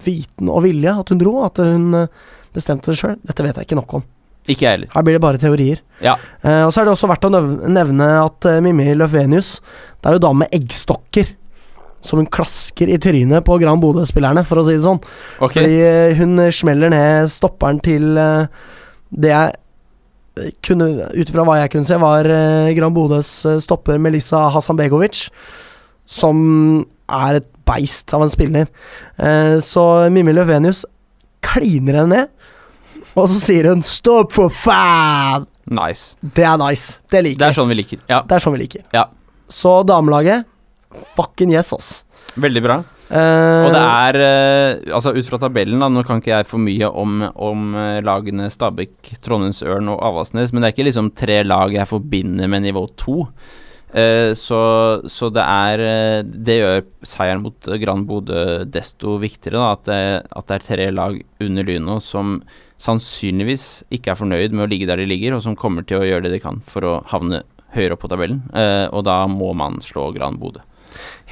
viten og vilje at hun dro, at hun eh, bestemte det sjøl. Dette vet jeg ikke nok om. ikke jeg heller. Her blir det bare teorier. Ja. Eh, og så er det også verdt å nev- nevne at eh, Mimmi Løfvenius Det er jo dame med eggstokker som hun klasker i trynet på Gran Bodø-spillerne, for å si det sånn. Ok, Fordi eh, hun smeller ned stopperen til eh, det jeg eh, kunne Ut ifra hva jeg kunne se, var eh, Gran Bodøs eh, stopper Melissa Hasanbegovic, som er et beist av en spiller. Eh, så Mimmi Løfvenius kliner henne ned, og så sier hun 'stopp for faen'! nice. Det er nice. Det liker Det er vi. sånn vi liker. Ja, Det er sånn vi liker. Ja. Så damelaget Fucking yes, ass. veldig bra. Eh, Og det er eh, Altså, ut fra tabellen, da, nå kan ikke jeg for mye om, om eh, lagene Stabæk, Trondheimsørn og Avaldsnes, men det er ikke liksom tre lag jeg forbinder med nivå to. Eh, så, så det er eh, Det gjør seieren mot eh, Gran Bodø desto viktigere, da, at det, at det er tre lag under Lyno som sannsynligvis ikke er fornøyd med å ligge der de ligger, og som kommer til å gjøre det de kan for å havne høyere opp på tabellen. Eh, og da må man slå Gran Bodø.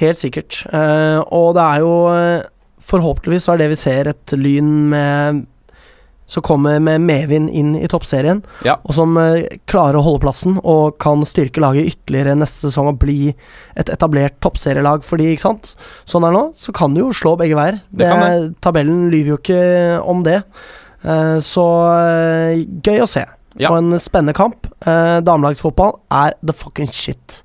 Helt sikkert. Eh, og det er jo eh, Forhåpentligvis så er det vi ser et lyn med som kommer med medvind inn i toppserien, Ja. og som eh, klarer å holde plassen og kan styrke laget ytterligere neste sesong og bli et etablert toppserielag for de, ikke sant? Sånn er det nå. Så kan det jo slå begge veier. Det kan Tabellen lyver jo ikke om det. Eh, så eh, gøy å se. Ja. Og en spennende kamp. Eh, damelagsfotball er the fucking shit.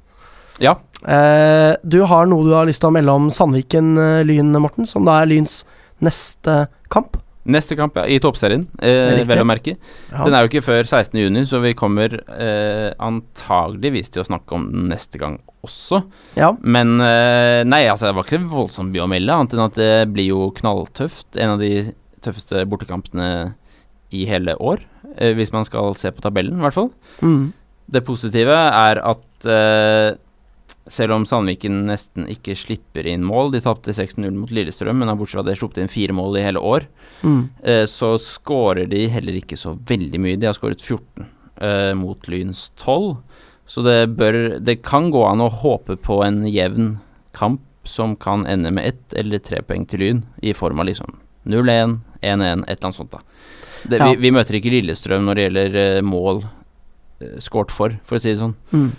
Ja. Eh, du har noe du har lyst til å melde om Sandviken-Lyn, Morten, som da er Lyns neste kamp. Neste kamp ja, i toppserien, eh, Riktig. vel å merke. Ja. Den er jo ikke før 16.6, så vi kommer eh, antageligvis til å snakke om den neste gang også. ja. Men eh, nei, altså, det var ikke voldsomt mye å melde, annet enn at det blir jo knalltøft. En av de tøffeste bortekampene i hele år, eh, hvis man skal se på tabellen, i hvert fall. Mm. Det positive er at eh, selv om Sandviken nesten ikke slipper inn mål, de tapte 6-0 mot Lillestrøm, men har bortsett fra det sluppet inn fire mål i hele år. Mm. Eh, så skårer de heller ikke så veldig mye. De har skåret 14 eh, mot Lyns 12. Så det bør Det kan gå an å håpe på en jevn kamp som kan ende med ett eller tre poeng til Lyn, i form av liksom 0-1, 1-1, et eller annet sånt, da. Det, Ja. vi, vi møter ikke Lillestrøm når det gjelder eh, mål eh, skåret for, for å si det sånn. Mm.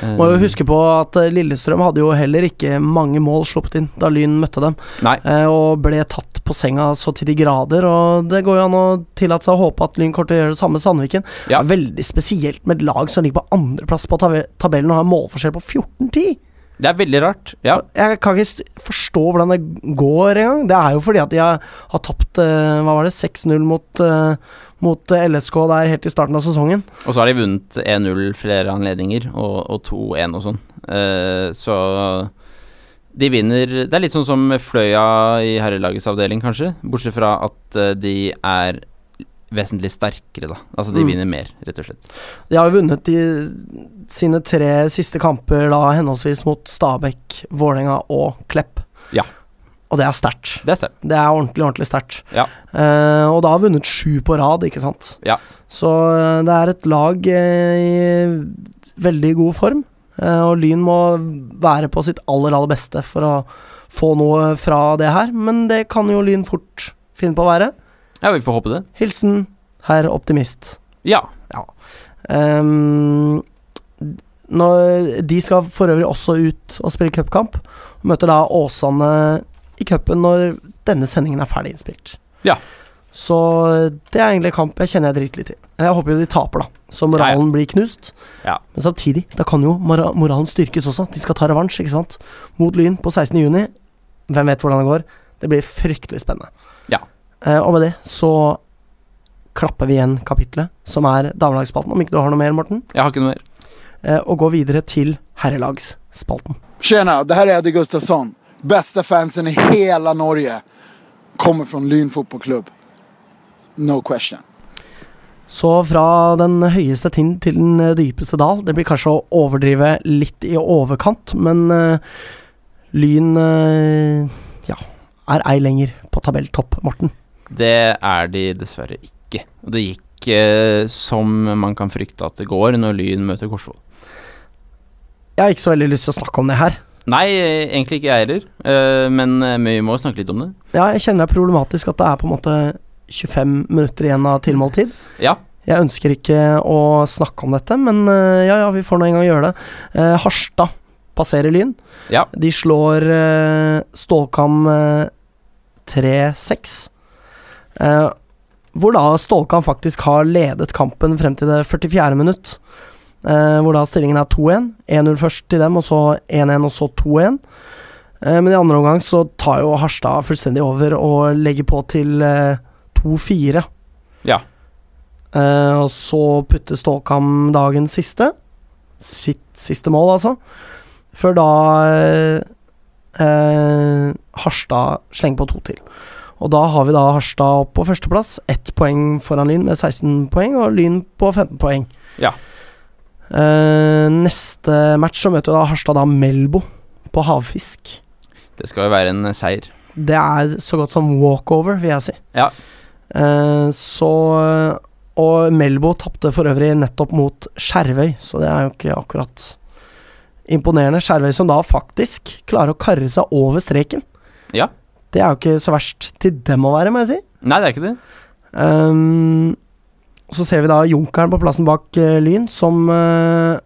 Eh, Må jo huske på at eh, Lillestrøm hadde jo heller ikke mange mål sluppet inn da Lyn møtte dem, Nei. eh, og ble tatt på senga så til de grader. Og det går jo an å tillate seg å håpe at Lyn kommer til å gjøre det samme med Sandviken. Ja. Det er veldig spesielt med et lag som ligger på andreplass på tab tabellen og har en målforskjell på 14-10. Det er veldig rart. Ja. Jeg kan ikke s- forstå hvordan det går engang. Det er jo fordi at de har, har tapt eh, hva var det, 6-0 mot, eh, mot eh, LSK der helt i starten av sesongen. Og så har de vunnet 1-0 flere anledninger, og, og 2-1 og sånn. Eh, så de vinner Det er litt sånn som Fløya i herrelagets avdeling, kanskje. Bortsett fra at eh, de er vesentlig sterkere, da. Altså de Mm. vinner mer, rett og slett. De har jo vunnet de, sine tre siste kamper da henholdsvis mot Stabæk, Vålerenga og Klepp. Ja. Og det er sterkt. Det er sterkt. Det er ordentlig, ordentlig sterkt. Ja. Eh, og da har vunnet sju på rad, ikke sant. Ja. Så eh, det er et lag eh, i veldig god form, eh, og Lyn må være på sitt aller, aller beste for å få noe fra det her, men det kan jo Lyn fort finne på å være. Ja, vi får håpe det. Hilsen herr optimist. Ja. Ehm, når de skal for øvrig også ut og spille cupkamp. Møter da Åsane i cupen når denne sendingen er ferdig innspilt. Ja. Så det er egentlig en kamp jeg kjenner jeg driter litt i. Men Jeg håper jo de taper, da, så moralen blir knust. Ja. Men samtidig, da kan jo mora- moralen styrkes også. De skal ta revansj, ikke sant? Mot Lyn på 16. juni. Hvem vet hvordan det går? Det blir fryktelig spennende. Ja. Eh, og med det så klapper vi igjen kapitlet, som er damelagsspalten. Om ikke du har noe mer, Morten? Jeg har ikke noe mer. eh, og gå videre til herrelagsspalten. Tjena, det här är Eddie Gustafsson. Bästa fansen i hela Norge. Kommer från Lyn fotbollsklubb. No question. Så fra den høyeste tind til den eh, dypeste dal. Det blir kanskje å overdrive litt i overkant, men eh, Lyn eh, ja, er ei lenger på tabelltopp, Morten. Det er de dessverre ikke. Og det gikk eh, som man kan frykte at det går når Lyn møter Korsvoll. Jeg har ikke så veldig lyst til å snakke om det her. Nei, eh, egentlig ikke jeg heller, eh, men eh, men vi må jo snakke litt om det. Ja, jeg kjenner det er problematisk at det er på en måte 25 minutter igjen av tilmålt tid. Ja. Jeg ønsker ikke å snakke om dette, men eh, ja, ja, vi får nå en gang gjøre det. Eh, Harstad passerer Lyn. Ja. De slår eh, Stålkam eh, 3-6. Eh, hvor da Stålkam faktisk har ledet kampen frem til det 44. minutt. Eh, hvor da stillingen er 2-1. 1-0 først til dem, og så 1-1, og så 2-1. Eh, men i andre omgang så tar jo Harstad fullstendig over og legger på til eh, 2-4. Ja. Eh, og så putter Stålkam dagens siste. Sitt siste mål, altså. Før da eh, eh, Harstad slenger på to til. Og da har vi da Harstad opp på førsteplass, ett poeng foran Lyn med 16 poeng, og Lyn på 15 poeng. Ja. Eh, neste match så møter da Harstad da Melbo på Havfisk. Det skal jo være en eh, seier. Det er så godt som walkover, vil jeg si. Ja. Eh, så Og Melbo tapte for øvrig nettopp mot Skjervøy, så det er jo ikke akkurat imponerende. Skjervøy som da faktisk klarer å karre seg over streken. Ja. Det er jo ikke så verst til dem å være, må jeg si. Nei, det er ikke det. Ehm, så ser vi da Junkeren på plassen bak eh, Lyn, som eh,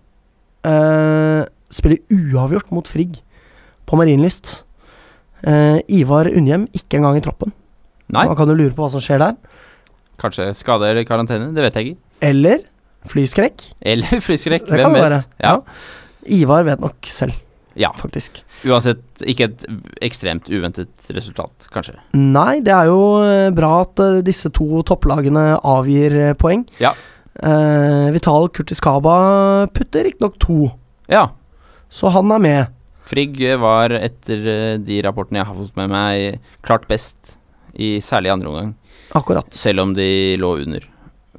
eh, spiller uavgjort mot Frigg på Marienlyst. Eh, Ivar Unnhjem ikke engang i troppen. Nei. Man kan jo lure på hva som skjer der. Kanskje skade eller karantene, det vet jeg ikke. Eller flyskrekk. Eller flyskrekk, Det kan hvem det vet. være. Ja. Ivar vet nok selv, ja. faktisk. Uansett, ikke et ekstremt uventet resultat, kanskje. Nei, det er jo eh, bra at eh, disse to topplagene avgir eh, poeng. Ja. Eh, Vital Kurtiskaba putter riktignok to, Ja. så han er med. Frigg var etter eh, de rapportene jeg har fått med meg, klart best, i særlig andre omgang. Akkurat. Selv om de lå under.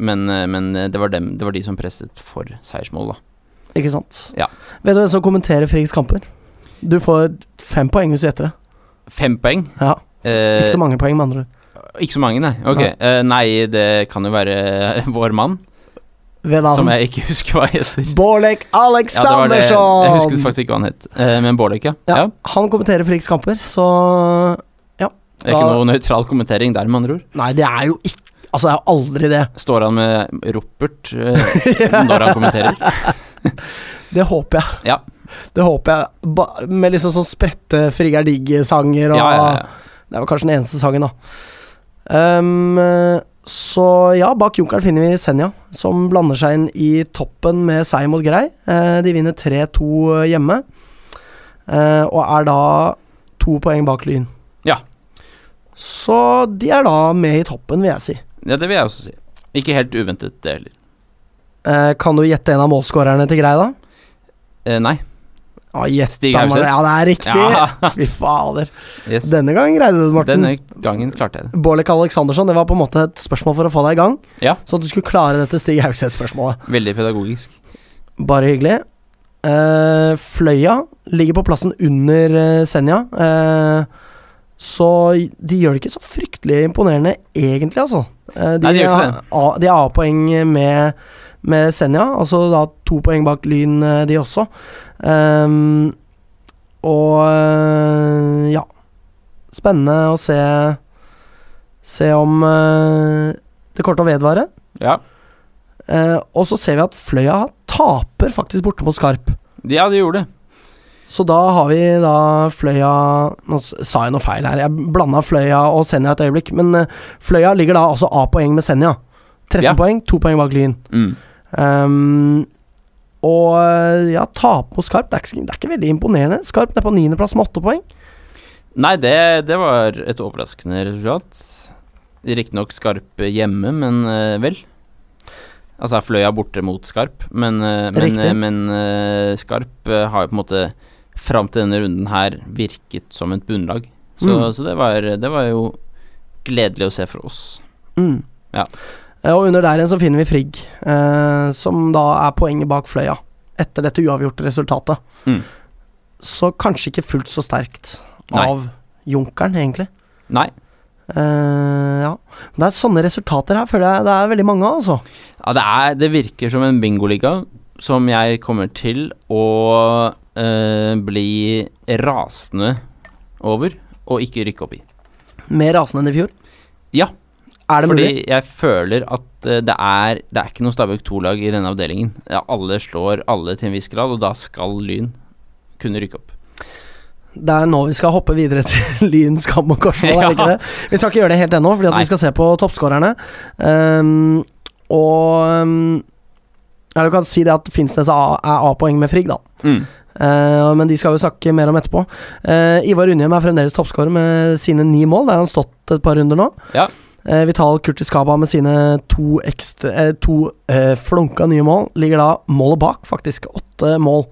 Men, eh, men eh, det, var dem, det var de som presset for seiersmål, da. Ikke sant? Ja. Vet du hvem som kommenterer Friggs kamper? Du får fem poeng hvis du gjetter det. Fem poeng. Ja, Eh, Ikke så mange poeng, med andre ord. ikke så mange, nei. Ok. Nei. Eh, nei, det kan jo være vår mann, Ved som navn jeg ikke husker hva heter. Borlek Ja, det var det. Jeg Aleksandersson! husket faktisk ikke hva han het. Eh, men Bårdøk, ja. Ja, ja. han kommenterer Friggs kamper, så Det er ikke Da- noe nøytral kommentering der, med andre ord. Nei, det er jo ikke Altså, det er jo aldri det. Står han med Ropert eh, når han kommenterer? Det håper jeg. Ja. Det håper jeg. Ba med liksom sånn spredte Frigg er digg-sanger og Ja, ja, ja. Det er vel kanskje den eneste sangen, da. Ehm, så ja, bak Junkeren finner vi Senja, som blander seg inn i toppen med seier mot Grei. Eh, de vinner 3-2 hjemme, eh, og er da to poeng bak Lyn. Ja. Så de er da med i toppen, vil jeg si. ja, det vil jeg også si. Ikke helt uventet, det heller. Eh, kan du gjette en av målskårerne til Grei, da? Eh, nei. Ja, gjett Stig da, Morten. Hauseth. Ja, det er riktig! Ja, Fy fader. yes. Denne gangen greide du det, Morten. Denne gangen klarte jeg det. Borlek Aleksandersson, det var på en måte et spørsmål for å få deg i gang. Ja. Så at du skulle klare dette Stig Haugseth-spørsmålet. Veldig pedagogisk. Bare hyggelig. Eh, Fløya ligger på plassen under eh, Senja. Eh, så de gjør det ikke så fryktelig imponerende, egentlig, altså. Eh, Nei, de gjør ikke er A- de er A-poeng med, med Senja, altså da to poeng bak Lyn, eh, de også. Ehm, og eh, ja. Spennende å se Se om eh, det kommer til å vedvare. Ja. Eh, og så ser vi at Fløya taper faktisk borte mot Skarp. Ja, de gjorde det. Så da har vi da Fløya Nå s- sa jeg noe feil her. Jeg blanda Fløya og Senja et øyeblikk. Men eh, Fløya ligger da altså A-poeng med Senja. 13 Ja. poeng, 2 poeng bak Lyn. Mm. Ehm, og eh, ja, tape mot Skarp, det er, ikke, det er ikke veldig imponerende. Skarp ned på niendeplass med åtte poeng. Nei, det, det var et overraskende resultat. Riktignok Skarp hjemme, men eh, vel. Altså Fløya borte mot Skarp, men, eh, men, Riktig. eh, men eh, Skarp eh, har jo på en måte fram til denne runden her virket som et bunnlag. Så, Mm. så det, var, det var jo gledelig å se for oss. Mm. Ja. Eh, Og under der igjen så finner vi Frigg, eh, som da er poenget bak Fløya. Etter dette uavgjorte resultatet. Mm. Så kanskje ikke fullt så sterkt Nei. av Junkeren, egentlig. Nei, Eh, ja. Men det er sånne resultater her, føler jeg det er veldig mange av, altså. ja, det, er, det virker som en bingoliga som jeg kommer til å eh, bli rasende over, og ikke rykke opp i. Mer rasende enn i fjor. Ja, Er det Fordi mulig? jeg føler at eh, det er, det er ikke noe Stabæk 2-lag i denne avdelingen. Ja, alle slår alle til en viss grad, og da skal Lyn kunne rykke opp. Det er nå vi skal hoppe videre til Lyn, Skam og Korsvoll, er det ikke Ja. det? Vi skal ikke gjøre det helt ennå, fordi at Nei. vi skal se på toppskårerne. Ehm, og um, ja, Du kan si det at Finnsnes er A- er A-poeng med Frigg, da. Mm. Eh, men de skal vi snakke mer om etterpå. Eh, Ivar Undhjem er fremdeles toppskårer med sine ni mål. Der har han stått et par runder nå. Ja. Eh, Vital Kurtis Kaba med sine to, ekstra, eh, to eh, flunka nye mål ligger da målet bak, faktisk. Åtte mål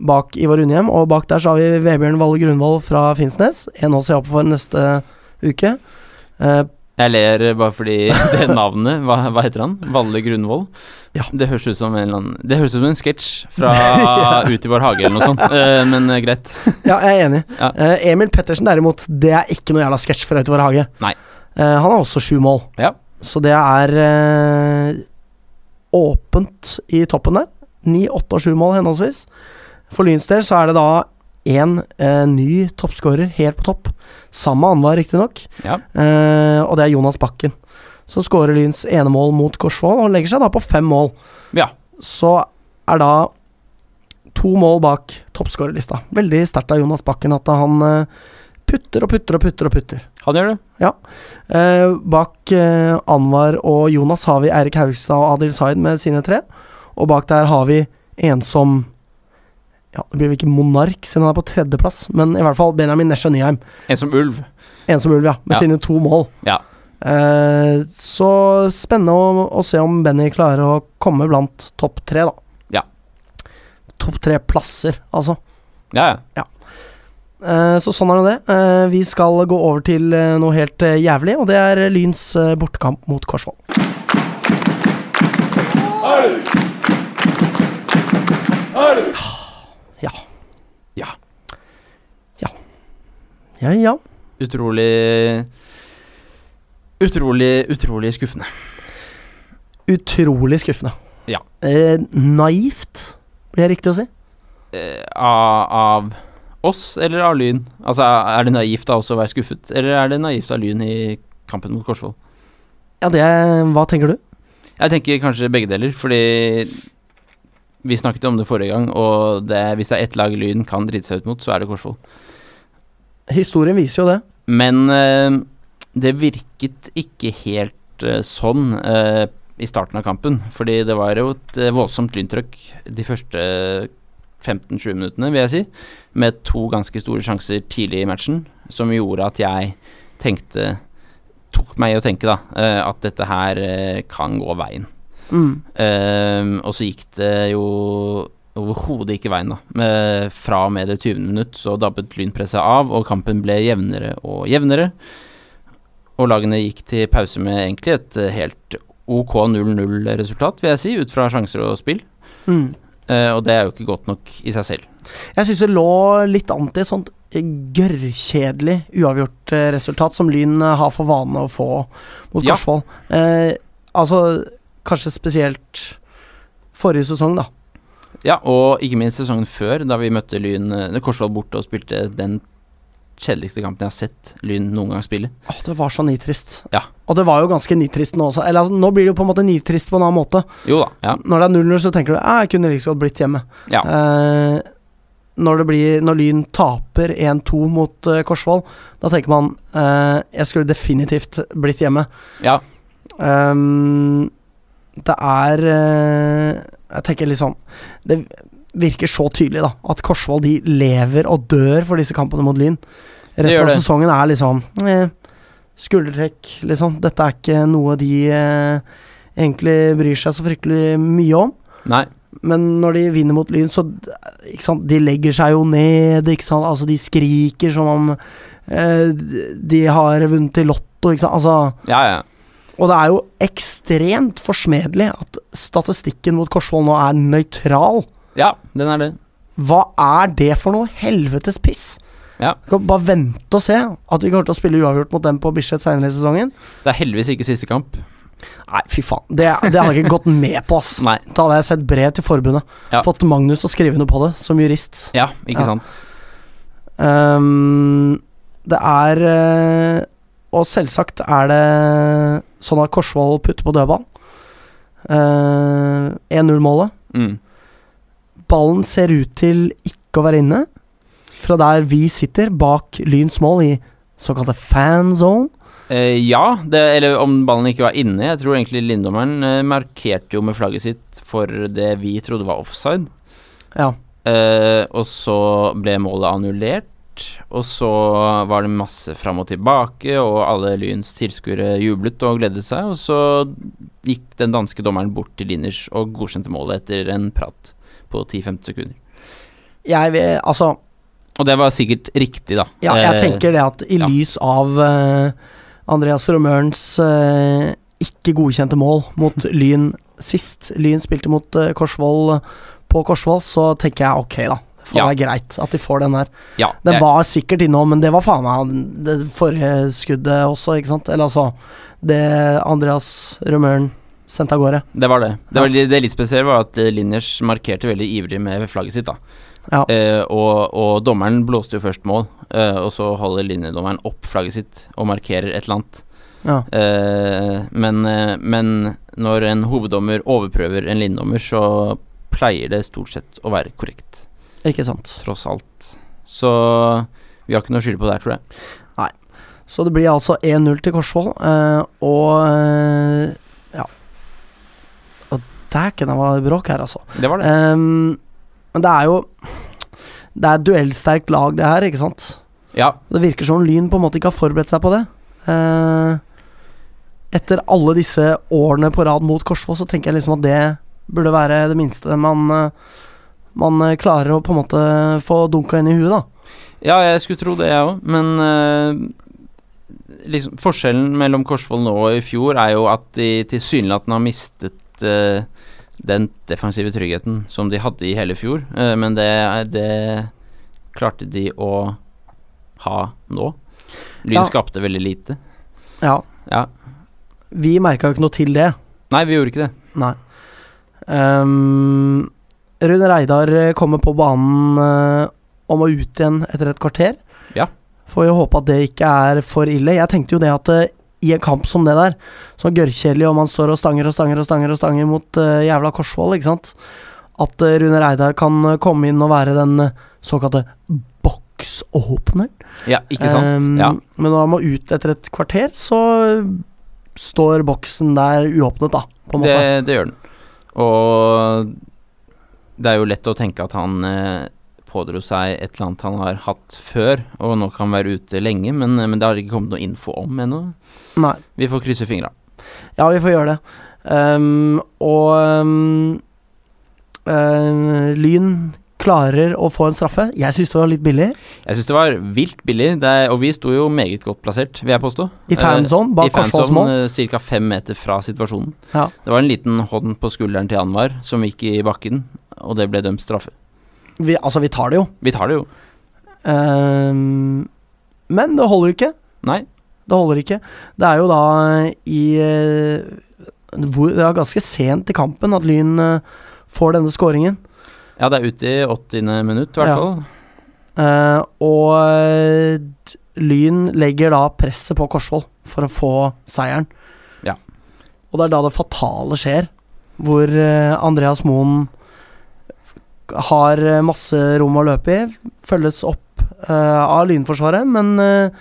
bak Ivar Undhjem. Og bak der så har vi Vebjørn Valle Grunvoll fra Finnsnes. En å se opp for neste uke. Eh, Jeg ler eh, bare fordi det navnet Hva, hva heter han? Valle Grunvoll? Ja. Det høres ut som en eller annen Det høres ut som en sketsj fra Ut i vår hage eller noe sånt, Eh, men eh, greit. ja, jeg er enig. Ja. Eh, Emil Pettersen derimot, det er ikke noe jævla sketsj fra Utover Hage. Nei. Eh, han har også sju mål. Ja. Så det er eh, åpent i toppen der. Ni, åtte og sju mål henholdsvis. For Lyns del så er det da én eh, ny toppskårer helt på topp. Samme Anwar, riktignok. Ja. Eh, og det er Jonas Bakken. Som skårer Lyns ene mål mot Korsvoll, og legger seg da på fem mål. Ja. Så er da to mål bak toppskårerlista. Veldig sterkt av Jonas Bakken at han eh, putter og putter og putter og putter. Han gjør det. Eh, bak eh, Anwar og Jonas har vi Eirik Haugstad og Adil Zaid med sine tre. Og bak der har vi en som ja, Det blir vel ikke Monark siden han er på tredjeplass, men i hvert fall Benjamin Nesja Nyheim. En som ulv. En som ulv, ja. Med Ja. sine to mål. Ja. Eh, så spennende å, å se om Benny klarer å komme blant topp tre, da. Ja. Topp tre plasser, altså. Ja, ja. Eh, Så sånn er nå det. Eh, Vi skal gå over til eh, noe helt eh, jævlig, og det er Lyns eh, bortekamp mot Korsvoll. Ja. Ja. Ja. Ja, ja. Utrolig Utrolig, utrolig skuffende. Utrolig skuffende. Ja. Eh, naivt, blir det riktig å si? eh, av, av oss eller av Lyn? Altså, er det naivt av oss å være skuffet, eller er det naivt av Lyn i kampen mot Korsvoll? Ja, det Hva tenker du? Jeg tenker kanskje begge deler, fordi vi snakket jo om det forrige gang, og det, hvis det er ett lag Lyn kan drite seg ut mot, så er det Korsvoll. Historien viser jo det. Men eh, det virket ikke helt eh, sånn eh, i starten av kampen. Fordi det var jo et eh, voldsomt lyntrykk de første 15-20 minuttene, vil jeg si. Med to ganske store sjanser tidlig i matchen, som gjorde at jeg tenkte Tok meg i å tenke, da, eh, at dette her eh, kan gå veien. Mm. Ehm, og så gikk det jo overhodet ikke veien, da. Med, fra og med det 20. minutt så dabbet lynpresset av, og kampen ble jevnere og jevnere. Og lagene gikk til pause med egentlig et eh, helt OK 0-0-resultat, vil jeg si, ut fra sjanser og spill. Mm. Eh, og det er jo ikke godt nok i seg selv. Jeg syns det lå litt an til et sånt gørrkjedelig uavgjort eh, resultat som Lyn eh, har for vane å få mot Ja. Korsvoll. Eh, altså kanskje spesielt forrige sesong, da. Ja, og ikke minst sesongen før, da vi møtte Lyn eh, Korsvoll borte og spilte den kjedeligste kampen jeg har sett Lyn noen gang spille. Åh, det var så nitrist. Ja. Og det var jo ganske nitrist nå også. Eller altså, nå blir det jo på en måte nitrist på en annen måte. Jo da, ja. «Ah, Når det er 0-0, så tenker du at jeg kunne like så godt blitt hjemme. Ja. Eh, når, det blir, når Lyn taper 1-2 mot eh, Korsvoll, da tenker man eh, Jeg skulle definitivt blitt hjemme. Ja. Ehm, det er eh, Jeg tenker litt sånn Det virker så tydelig, da, at Korsvoll de lever og dør for disse kampene mot Lyn. Resten gjør av det. sesongen er liksom eh, skuldertrekk, liksom. Dette er ikke noe de eh, egentlig bryr seg så fryktelig mye om. Nei. Men når de vinner mot Lyn, så ikke sant, De legger seg jo ned, ikke sant. Altså, de skriker som om eh, de har vunnet i Lotto, ikke sant. Altså, Ja, ja. og det er jo ekstremt forsmedelig at statistikken mot Korsvoll nå er nøytral. Ja, den er det. Hva er det for noe helvetes piss? Ja. Vi kan bare vente og se at vi kommer til å spille uavgjort mot dem på Bislett senere i sesongen. Det er heldigvis ikke siste kamp. Nei, fy faen. Det, det hadde jeg ikke gått med på, ass. Nei. Da hadde jeg sett brev til forbundet. Ja. Fått Magnus til å skrive noe på det, som jurist. Ja, Ja. ikke sant. Ehm, det er eh, Og selvsagt er det sånn at Korsvoll putter på dødball. Eh, 1-0-målet. Mm. Ballen ser ut til ikke å være inne. Fra der vi sitter, bak Lyns mål, i såkalte fanzone. Eh, ja, det, eller om ballen ikke var inne. Jeg tror egentlig Lindommeren eh, markerte jo med flagget sitt for det vi trodde var offside. Ja. Eh, og så ble målet annullert. Og så var det masse fram og tilbake, og alle Lyns tilskuere jublet og gledet seg. Og så gikk den danske dommeren bort til Liners og godkjente målet etter en prat på 10-15 sekunder. Jeg vil Altså, Og det var sikkert riktig, da. ja, jeg Eh, tenker det at i ja. lys av eh, Andreas Romørens eh, ikke godkjente mål mot Lyn sist Lyn spilte mot eh, Korsvoll på Korsvoll, så tenker jeg ok, da. Faen, Ja. Det er greit at de får den der. ja, Den jeg- var sikkert innom, men det var faen meg det forrige skuddet også, ikke sant? Eller altså Det Andreas Romøren sendte av gårde. Det var det. Det, var, det litt spesielle var at eh, Liners markerte veldig ivrig med flagget sitt. da Ja. eh, og, og dommeren blåste jo først mål, eh, og så holder linjedommeren opp flagget sitt og markerer et eller annet. Ja. Eh, men, eh, men når en hoveddommer overprøver en linjedommer, så pleier det stort sett å være korrekt, Ikke sant. tross alt. Så vi har ikke noe å skylde på der, tror jeg. Så det blir altså 1-0 til Korsvoll, eh, og eh, Ja. Og dæken, det var bråk her, altså. Det var det. Ehm, men det er jo Det er et duellsterkt lag, det her, ikke sant? Ja. Det virker som Lyn på en måte ikke har forberedt seg på det. Eh, etter alle disse årene på rad mot Korsvoll, så tenker jeg liksom at det burde være det minste man, eh, man eh, klarer å på en måte få dunka inn i huet, da. Ja, jeg skulle tro det, jeg òg, men eh, liksom, forskjellen mellom Korsvoll nå og i fjor er jo at de tilsynelatende har mistet eh, den defensive tryggheten som de hadde i hele fjor, eh, men det, er- det klarte de å ha nå. Lyn Ja. skapte veldig lite. Ja. Ja. Vi merka jo ikke noe til det. Nei, vi gjorde ikke det. Nei. Ehm, Rune Reidar eh, kommer på banen eh, om å ut igjen etter et kvarter. Ja. Får jo håpe at det ikke er for ille. Jeg tenkte jo det at eh, i en kamp som det der, så gørrkjedelig om han står og stanger og stanger og stanger og stanger mot eh, jævla Korsvoll, ikke sant At eh, Rune Reidar kan eh, komme inn og være den eh, såkalte boksåpner. Ja, ikke sant? Ehm, ja. Men når han må ut etter et kvarter, så eh, står boksen der uåpnet, da. På en måte. Det, det gjør den. Og det er jo lett å tenke at han eh, pådro seg et eller annet han har hatt før, og nå kan være ute lenge, men, eh, men det har ikke kommet noe info om ennå. Nei. Vi får krysse fingra. Ja, vi får gjøre det. Ehm, og ehm, eh, Lyn klarer å få en straffe. Jeg syns det var litt billig. Jeg syns det var vilt billig, det er, og vi sto jo meget godt plassert, vil jeg påstå. Eh, Eh, I fanzone, eh. bak Korsvolls mål. ca. eh, fem meter fra situasjonen. Ja. Det var en liten hånd på skulderen til Anwar som gikk i bakken, og det ble dømt straffe. Vi, altså, vi tar det jo. Vi tar det jo. Ehm, men det holder jo ikke. Nei. Det holder ikke. Det er jo da i eh, hvor, Det var ganske sent i kampen at Lyn eh, får denne skåringen. Ja, det er ute i åttiende minutt, i hvert Ja. fall. Eh, og eh, d- Lyn legger da presset på Korsvoll for å få seieren. Ja. Og det er da det fatale skjer, hvor eh, Andreas Moen har eh, masse rom å løpe i. Følges opp eh, av Lynforsvaret, men eh,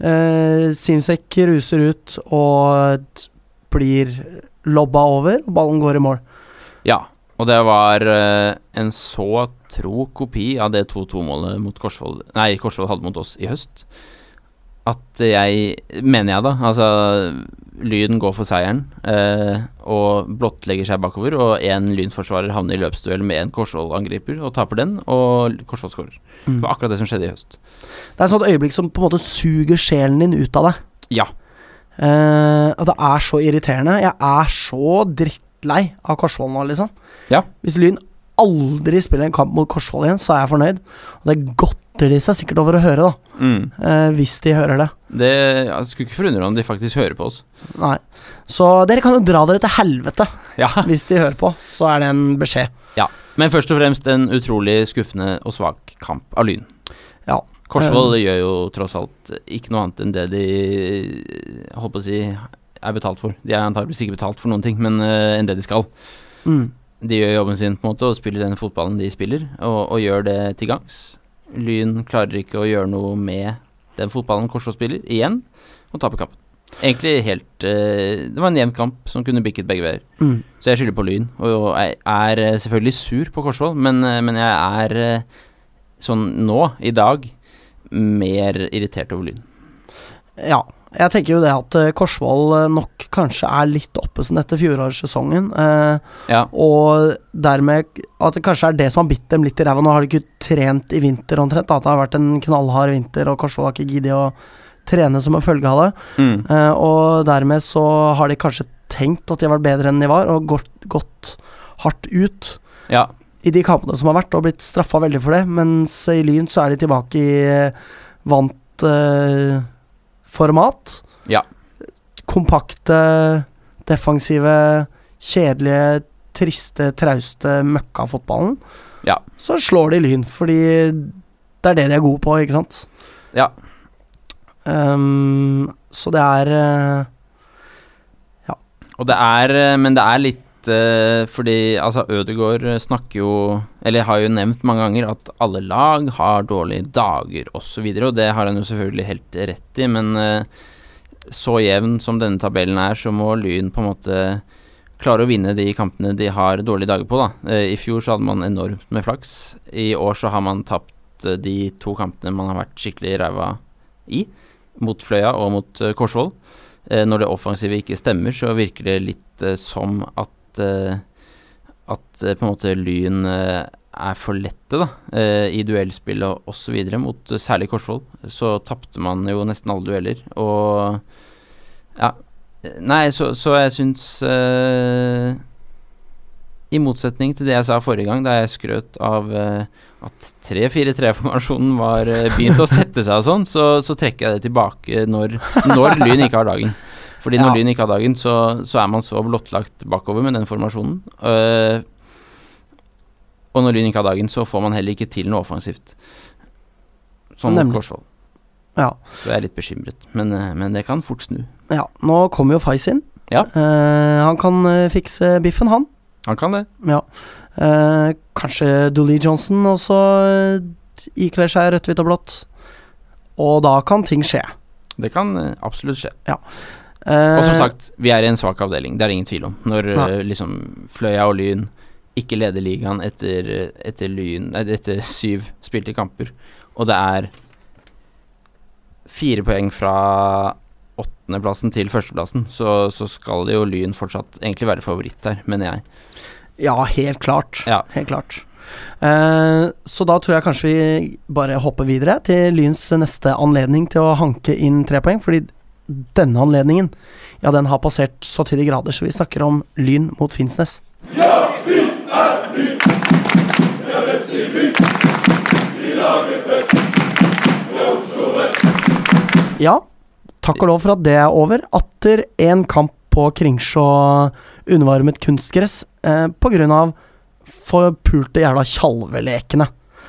eh, Simsek ruser ut og t- blir lobba over, og ballen går i mål. Ja, og det var eh, en så tro kopi av det 2-2-målet mot Korsvold Nei, Korsvold hadde mot oss i høst. At jeg Mener jeg, da. Altså, Lyn går for seieren eh, og blottlegger seg bakover. Og én Lyn-forsvarer havner i løpsduell med en Korsvold-angriper og taper den, og Korsvold skårer. Det var akkurat det som skjedde i høst. Det er et sånt øyeblikk som på en måte suger sjelen din ut av deg. Ja. Eh, og det er så irriterende. Jeg er så drittlei av Korsvoll nå, liksom. Ja. Hvis Lyn aldri spiller en kamp mot Korsvoll igjen, så er jeg fornøyd. Og det godter de seg sikkert over å høre, da. Mm. eh, hvis de hører det. Det jeg skulle ikke forundre meg om de faktisk hører på oss. Nei. Så dere kan jo dra dere til helvete Ja. hvis de hører på. Så er det en beskjed. Men først og fremst en utrolig skuffende og svak kamp av Lyn. Ja. Korsvoll gjør jo tross alt ikke noe annet enn det de eh, holdt på å si er betalt for. De er antakeligvis ikke betalt for noen ting, men eh, enn det de skal. Mm. De gjør jobben sin på en måte og spiller den fotballen de spiller, og, og gjør det til gangs. Lyn klarer ikke å gjøre noe med den fotballen Korsvoll spiller, igjen, og taper kampen. Egentlig helt eh, Det var en jevn kamp som kunne bikket begge veier. Mm. Så jeg skylder på Lyn, og jeg er eh, selvfølgelig sur på Korsvoll, men, eh, men jeg er eh, sånn nå, i dag, mer irritert over Lyn. Ja. Jeg tenker jo det at eh, Korsvoll eh, nok kanskje er litt oppesen etter fjorårssesongen. eh, Ja, Og dermed at det kanskje er det som har bitt dem litt i ræva. Nå har de ikke trent i vinter omtrent. da. At det har vært en knallhard vinter, og Korsvoll har ikke giddet å trene som en følge av det. mm. Eh, og dermed så har de kanskje tenkt at de har vært bedre enn de var, og gått, gått hardt ut ja, i de kampene som har vært, og blitt straffa veldig for det. Mens i Lyn så er de tilbake i eh, vant eh, format. Ja. Kompakte, defensive, kjedelige, triste, trauste møkkafotballen. Ja. Så slår de Lyn, fordi det er det de er gode på, ikke sant? Ja. Ehm, så det er eh, Og det er eh, Men det er litt eh, fordi altså Ødegaard eh, snakker jo Eller har jo nevnt mange ganger at alle lag har dårlige dager osv., og det har han jo selvfølgelig helt rett i, men eh, så jevn som denne tabellen er, så må Lyn på en måte klare å vinne de kampene de har dårlige dager på, da. Eh, I fjor så hadde man enormt med flaks. I år så har man tapt eh, de to kampene man har vært skikkelig ræva i, mot Fløya og mot eh, Korsvoll. Eh, når det offensive ikke stemmer, så virker det litt eh, som at eh, At eh, på en måte Lyn eh, er for lette, da. Eh, I duellspill og osv. mot eh, særlig Korsvoll. Så tapte man jo nesten alle dueller, og Ja. eh, Nei, så, så jeg syns eh, I motsetning til det jeg sa forrige gang, da jeg skrøt av eh, at 3-4-3-formasjonen var eh, begynt å sette seg og sånn, så, så trekker jeg det tilbake når, når Lyn ikke har dagen. Fordi når Ja. Lyn ikke har dagen, så, så er man så blottlagt bakover med den formasjonen. Eh, og når Lyn ikke har dagen, så får man heller ikke til noe offensivt. Sånn mot Nemlig. Korsvoll. Ja. Så jeg er litt bekymret, men, eh, men det kan fort snu. Ja, nå kommer jo Faiz inn. Ja. Eh, han kan eh, fikse biffen, han. Han kan det. Ja. Eh, kanskje Dooley Johnson også eh, ikler seg rødt, hvitt og blått. Og da kan ting skje. Det kan eh, absolutt skje. Eh, Og som sagt, vi er i en svak avdeling, det er det ingen tvil om. Når Nei. eh, liksom Fløya og Lyn ikke leder ligaen etter, etter, lyn, nei, etter syv spilte kamper, og det er fire poeng fra åttendeplassen til førsteplassen, så, så skal jo Lyn fortsatt egentlig være favoritt her, mener jeg. Ja, helt klart. Ja. Helt klart. Eh, så da tror jeg kanskje vi bare hopper videre til Lyns neste anledning til å hanke inn tre poeng, fordi denne anledningen, ja, den har passert så til de grader, så vi snakker om Lyn mot Finnsnes. Ja, takk og lov for at det er over. Atter en kamp på Kringsjå undervarmet kunstgress eh, på grunn av forpulte jævla tjalvelekene.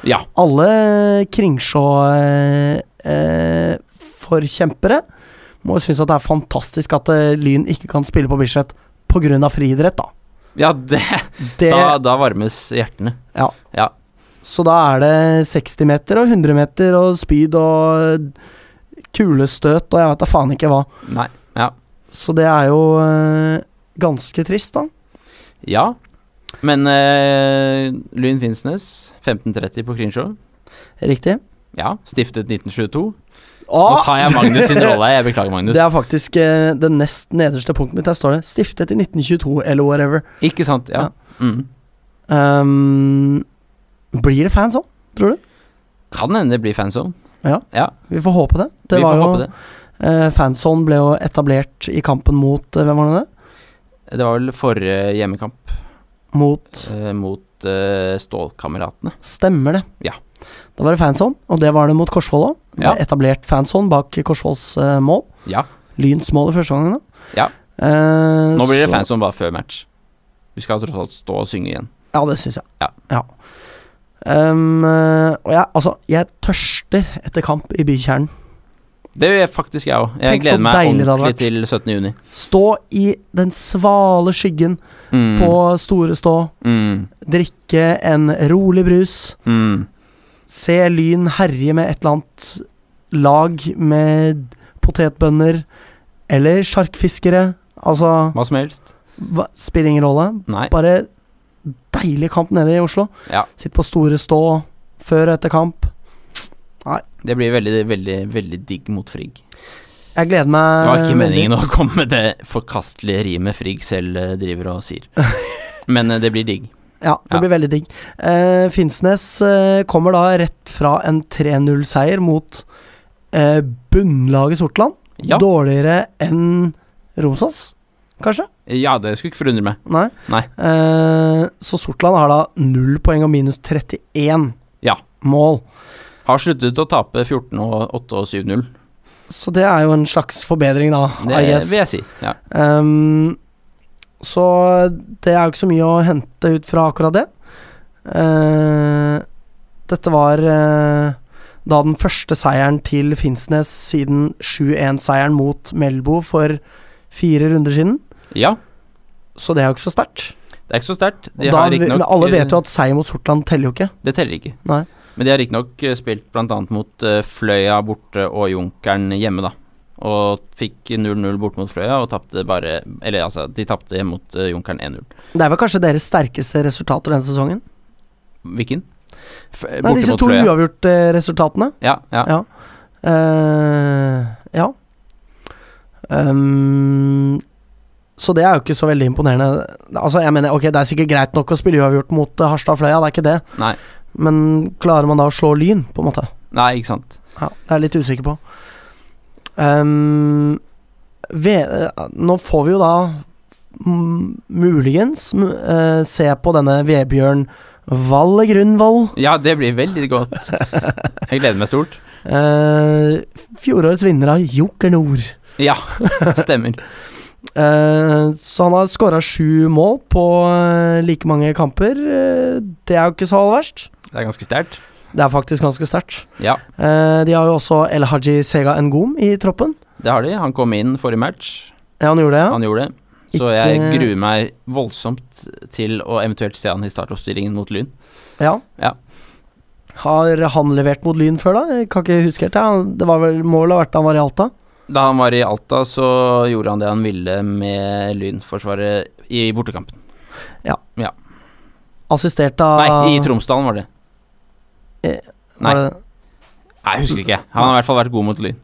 Ja. Alle eh, Kringsjå-forkjempere må synes at det er fantastisk at eh, Lyn ikke kan spille på Bislett pga. friidrett, da. Ja, det, Det, Da, da varmes hjertene. Ja. Ja. Så da er det 60 meter og 100 meter og spyd og kulestøt og jeg veit da faen ikke hva. Nei. Ja. Så det er jo eh, ganske trist, da. ja. Men eh, Lyn Finnsnes, 1530 på Krinsjå. Riktig. Ja, stiftet 1922. Nå tar jeg Magnus sin rolle. her, Jeg beklager, Magnus. Ah! Det er faktisk eh, det nest nederste punktet mitt. Der står det 'Stiftet i 1922' eller whatever. Ikke sant? Ja. Mm. Ehm, blir det fans òg, tror du? Kan hende det blir fanzone. Vi får håpe det. det Vi var får jo, håpe det. eh, fanzone ble jo etablert i kampen mot eh, Hvem var det? det? Det var vel forrige hjemmekamp Mot eh, mot eh, Stålkameratene. Stemmer det. Ja. Da var det fanzone, og det var det mot Korsvoll òg. Ja. Etablert fanzone bak Korsvolls eh, mål. Ja. Lyns mål i første gangen, da. Ja. Eh, Nå blir det så- fanzone bare før match. Du skal tross alt stå og synge igjen. Ja, det syns jeg. Ja. Ehm, eh, og jeg, altså, jeg tørster etter kamp i bykjernen. Det gjør jeg faktisk jeg òg. Jeg Tenk så gleder meg deilig det hadde ordentlig til 17. juni. Stå i den svale skyggen Mm, på Store Stå. mm, Drikke en rolig brus. mm. Se Lyn herje med et eller annet lag med potetbønner. Eller sjarkfiskere. Altså, Hva som helst. hva, spiller ingen rolle. Nei. Bare deilig kamp nede i Oslo. Ja. Sitt på Store Stå før og etter kamp. Det blir veldig, veldig veldig digg mot Frigg. Jeg gleder Det meg var ikke veldig. meningen å komme med det forkastelige rimet Frigg selv eh, driver og sier. Men eh, det blir digg. Ja, det Ja. blir veldig digg. Eh, Finnsnes eh, kommer da rett fra en 3-0-seier mot eh, bunnlaget Sortland. Ja. Dårligere enn Romsås, kanskje? ja, det skulle ikke forundre meg. Nei. Nei. Eh, så Sortland har da null poeng og minus 31 Ja. mål. Har sluttet å tape 14 og 8 og 7-0. Så det er jo en slags forbedring, da. Det I guess. vil jeg si. Ja. Ehm, så det er jo ikke så mye å hente ut fra akkurat det. Eh, dette var eh, da den første seieren til Finnsnes siden 7-1-seieren mot Melbo for fire runder siden. ja. Så det er jo ikke så sterkt. Det er ikke så sterkt. Og da- Men alle vet jo at seier mot Sortland teller jo ikke. eh, Det teller ikke. Nei. Men de har riktignok eh, spilt bl.a. mot eh, Fløya borte og Junkeren hjemme, da. Og fikk 0-0 borte mot Fløya og tapte bare Eller altså, de tapte hjemme mot eh, Junkeren 1-0. Det er vel kanskje deres sterkeste resultater denne sesongen? Hvilken? F Nei, disse to uavgjort-resultatene. Ja, ja. Ja. eh ja. Ehm, så det er jo ikke så veldig imponerende. Altså, jeg mener, ok, Det er sikkert greit nok å spille uavgjort mot eh, Harstad og Fløya, det er ikke det. Nei. Men klarer man da å slå Lyn, på en måte? Nei, ikke sant. Ja, det er jeg litt usikker på. Ehm, ve- eh, nå får vi jo da mm, muligens m- eh, se på denne Vebjørn Valle Grunvoll. Ja, det blir veldig godt. Jeg gleder meg stort. eh, fjorårets vinner av Joker Nord. Ja, stemmer. Eh, Så han har skåra sju mål på eh, like mange kamper. Eh, Det er jo ikke så aller verst. Det er ganske sterkt. Det er faktisk ganske sterkt. Ja, Eh, De har jo også El Haji Sega Ngom i troppen. det har de. Han kom inn forrige match. Ja, han gjorde det, ja. Han gjorde det. Så Ikke- jeg gruer meg voldsomt til å eventuelt se han i startoppstillingen mot Lyn. ja. Ja. Har han levert mot Lyn før, da? Jeg kan ikke huske helt. ja. Det var vel målet ha vært da han var i Alta. Da han var i Alta, så gjorde han det han ville med Lyn-forsvaret i bortekampen. Assistert av Nei, i Tromsdalen var det. var nei. det- Nei, jeg husker ikke. Han har i hvert fall vært god mot Lyn.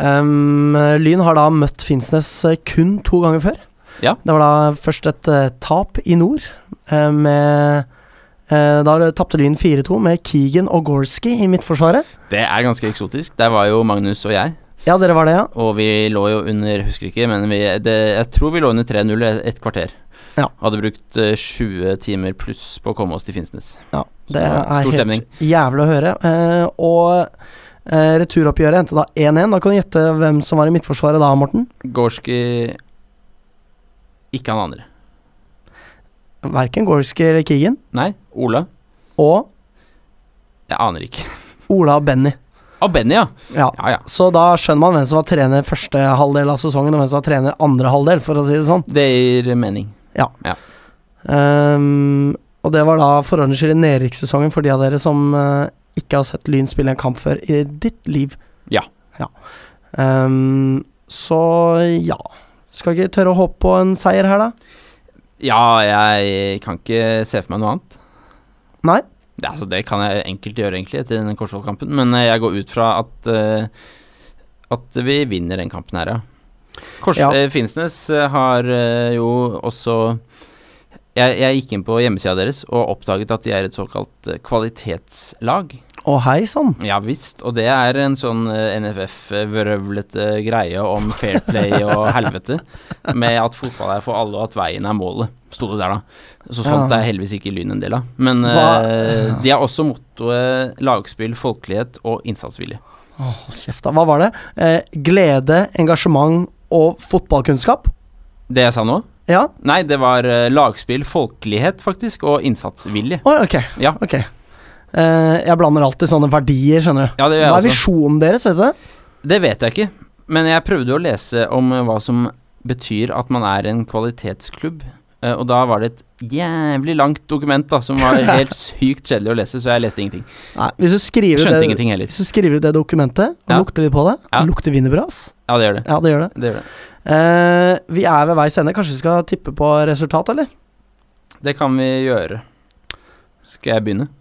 Ehm, Lyn har da møtt Finnsnes eh, kun to ganger før. Ja. Det var da først et eh, tap i nord. eh, med, eh, da tapte Lyn 4-2 med Keegan og Gorski i midtforsvaret. Det er ganske eksotisk. Der var jo Magnus og jeg, Ja, dere var det, ja. og vi lå jo under Husker ikke, men vi, det, jeg tror vi lå under 3-0 et- et kvarter. Ja. Hadde brukt eh, 20 timer pluss på å komme oss til Finnsnes. Det Så, er stor helt stemning. jævlig å høre. Eh, og eh, returoppgjøret endte da 1-1. Da kan du gjette hvem som var i midtforsvaret da, Morten. Gorski Ikke han andre. Verken Gorski eller Keegan. Nei, Ola. Og Jeg aner ikke. Ola og Benny. Og Benny, ja. Ja. Ja, ja. Så da skjønner man hvem som var trener første halvdel av sesongen, og hvem som var trener andre halvdel, for å si det sånn. Det gir mening. Ja. Ja. Ehm, og det var da for ordens skyld i nedrykkssesongen for de av dere som eh, ikke har sett Lyn spille en kamp før i ditt liv. Ja. Ehm, så ja Skal ikke tørre å håpe på en seier her, da? Ja, jeg kan ikke se for meg noe annet. Nei? Det, altså, det kan jeg enkelt gjøre, egentlig, etter den Korsvoll-kampen, men eh, jeg går ut fra at eh, at vi vinner den kampen her, ja. Kors, Ja. eh, Finnsnes eh, har eh, jo også jeg, jeg gikk inn på hjemmesida deres og oppdaget at de er et såkalt eh, kvalitetslag. Å, hei sann. Ja visst, og det er en sånn NFF-vrøvlete greie om fair play og helvete. Med at fotball er for alle, og at veien er målet, sto det der da. Så sånt Ja. er heldigvis ikke Lyn en del av. Men Hva- eh, de har også mottoet eh, lagspill, folkelighet og innsatsvilje. Hold kjeft, da. Hva var det? Eh, glede, engasjement og fotballkunnskap? Det jeg sa nå? Ja? Nei, det var eh, lagspill, folkelighet faktisk, og innsatsvilje. Oi, ok. Ja. ok. Eh, jeg blander alltid sånne verdier, skjønner du. Ja, altså. det gjør jeg Hva er også. visjonen deres, vet du det? Det vet jeg ikke, men jeg prøvde å lese om eh, hva som betyr at man er en kvalitetsklubb. eh, Og da var det et jævlig langt dokument da, som var helt sykt kjedelig å lese, så jeg leste ingenting. Nei, hvis du skriver Skjønte det, ingenting heller. Hvis du skriver ut det dokumentet og Ja. lukter litt på det Ja. Lukter wienerbrød, ass. Ja, det gjør det. Ja, det gjør det. Det, gjør det. Eh, vi er ved veis ende. Kanskje vi skal tippe på resultat, eller? det kan vi gjøre. Skal jeg begynne? Jeg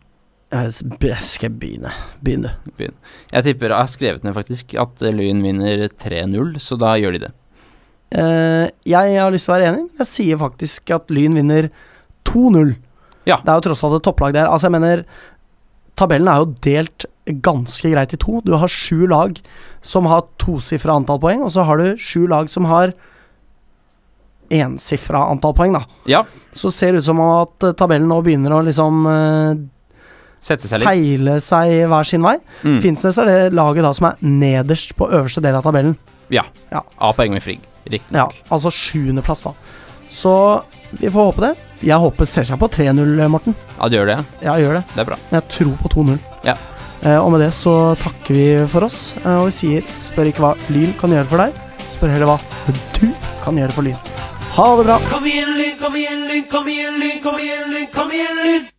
Eh, s- be- skal jeg begynne. Begynn, du. Jeg tipper, jeg har skrevet ned faktisk, at eh, Lyn vinner 3-0, så da gjør de det. Eh, jeg har lyst til å være enig. men Jeg sier faktisk at Lyn vinner 2-0. Ja. Det er jo tross alt et topplag der. Altså, jeg mener Tabellen er jo delt ganske greit i to. Du har sju lag som har tosifra antall poeng, og så har du sju lag som har ensifra antall poeng, da. Ja, Så ser det ut som at eh, tabellen nå begynner å liksom eh, sette seg litt. seile seg hver sin vei. Mm. Finnsnes er det laget da som er nederst på øverste del av tabellen. A-poeng med Frigg, Ja, riktignok. altså sjuendeplass, da. Så vi får håpe det. Jeg håper selvsagt på 3-0, Morten. Ja. ja, det gjør det. ja. Ja, jeg gjør det. Det er bra. Men jeg tror på 2-0. Ja. Eh, og med det så takker vi for oss, eh, og vi sier spør ikke hva Lyn kan gjøre for deg, spør heller hva du kan gjøre for Lyn. Ha det bra! Kom igjen, lyn, kom igjen, lyn, kom igjen, lyn, kom igjen, lyn, kom igjen, lyn!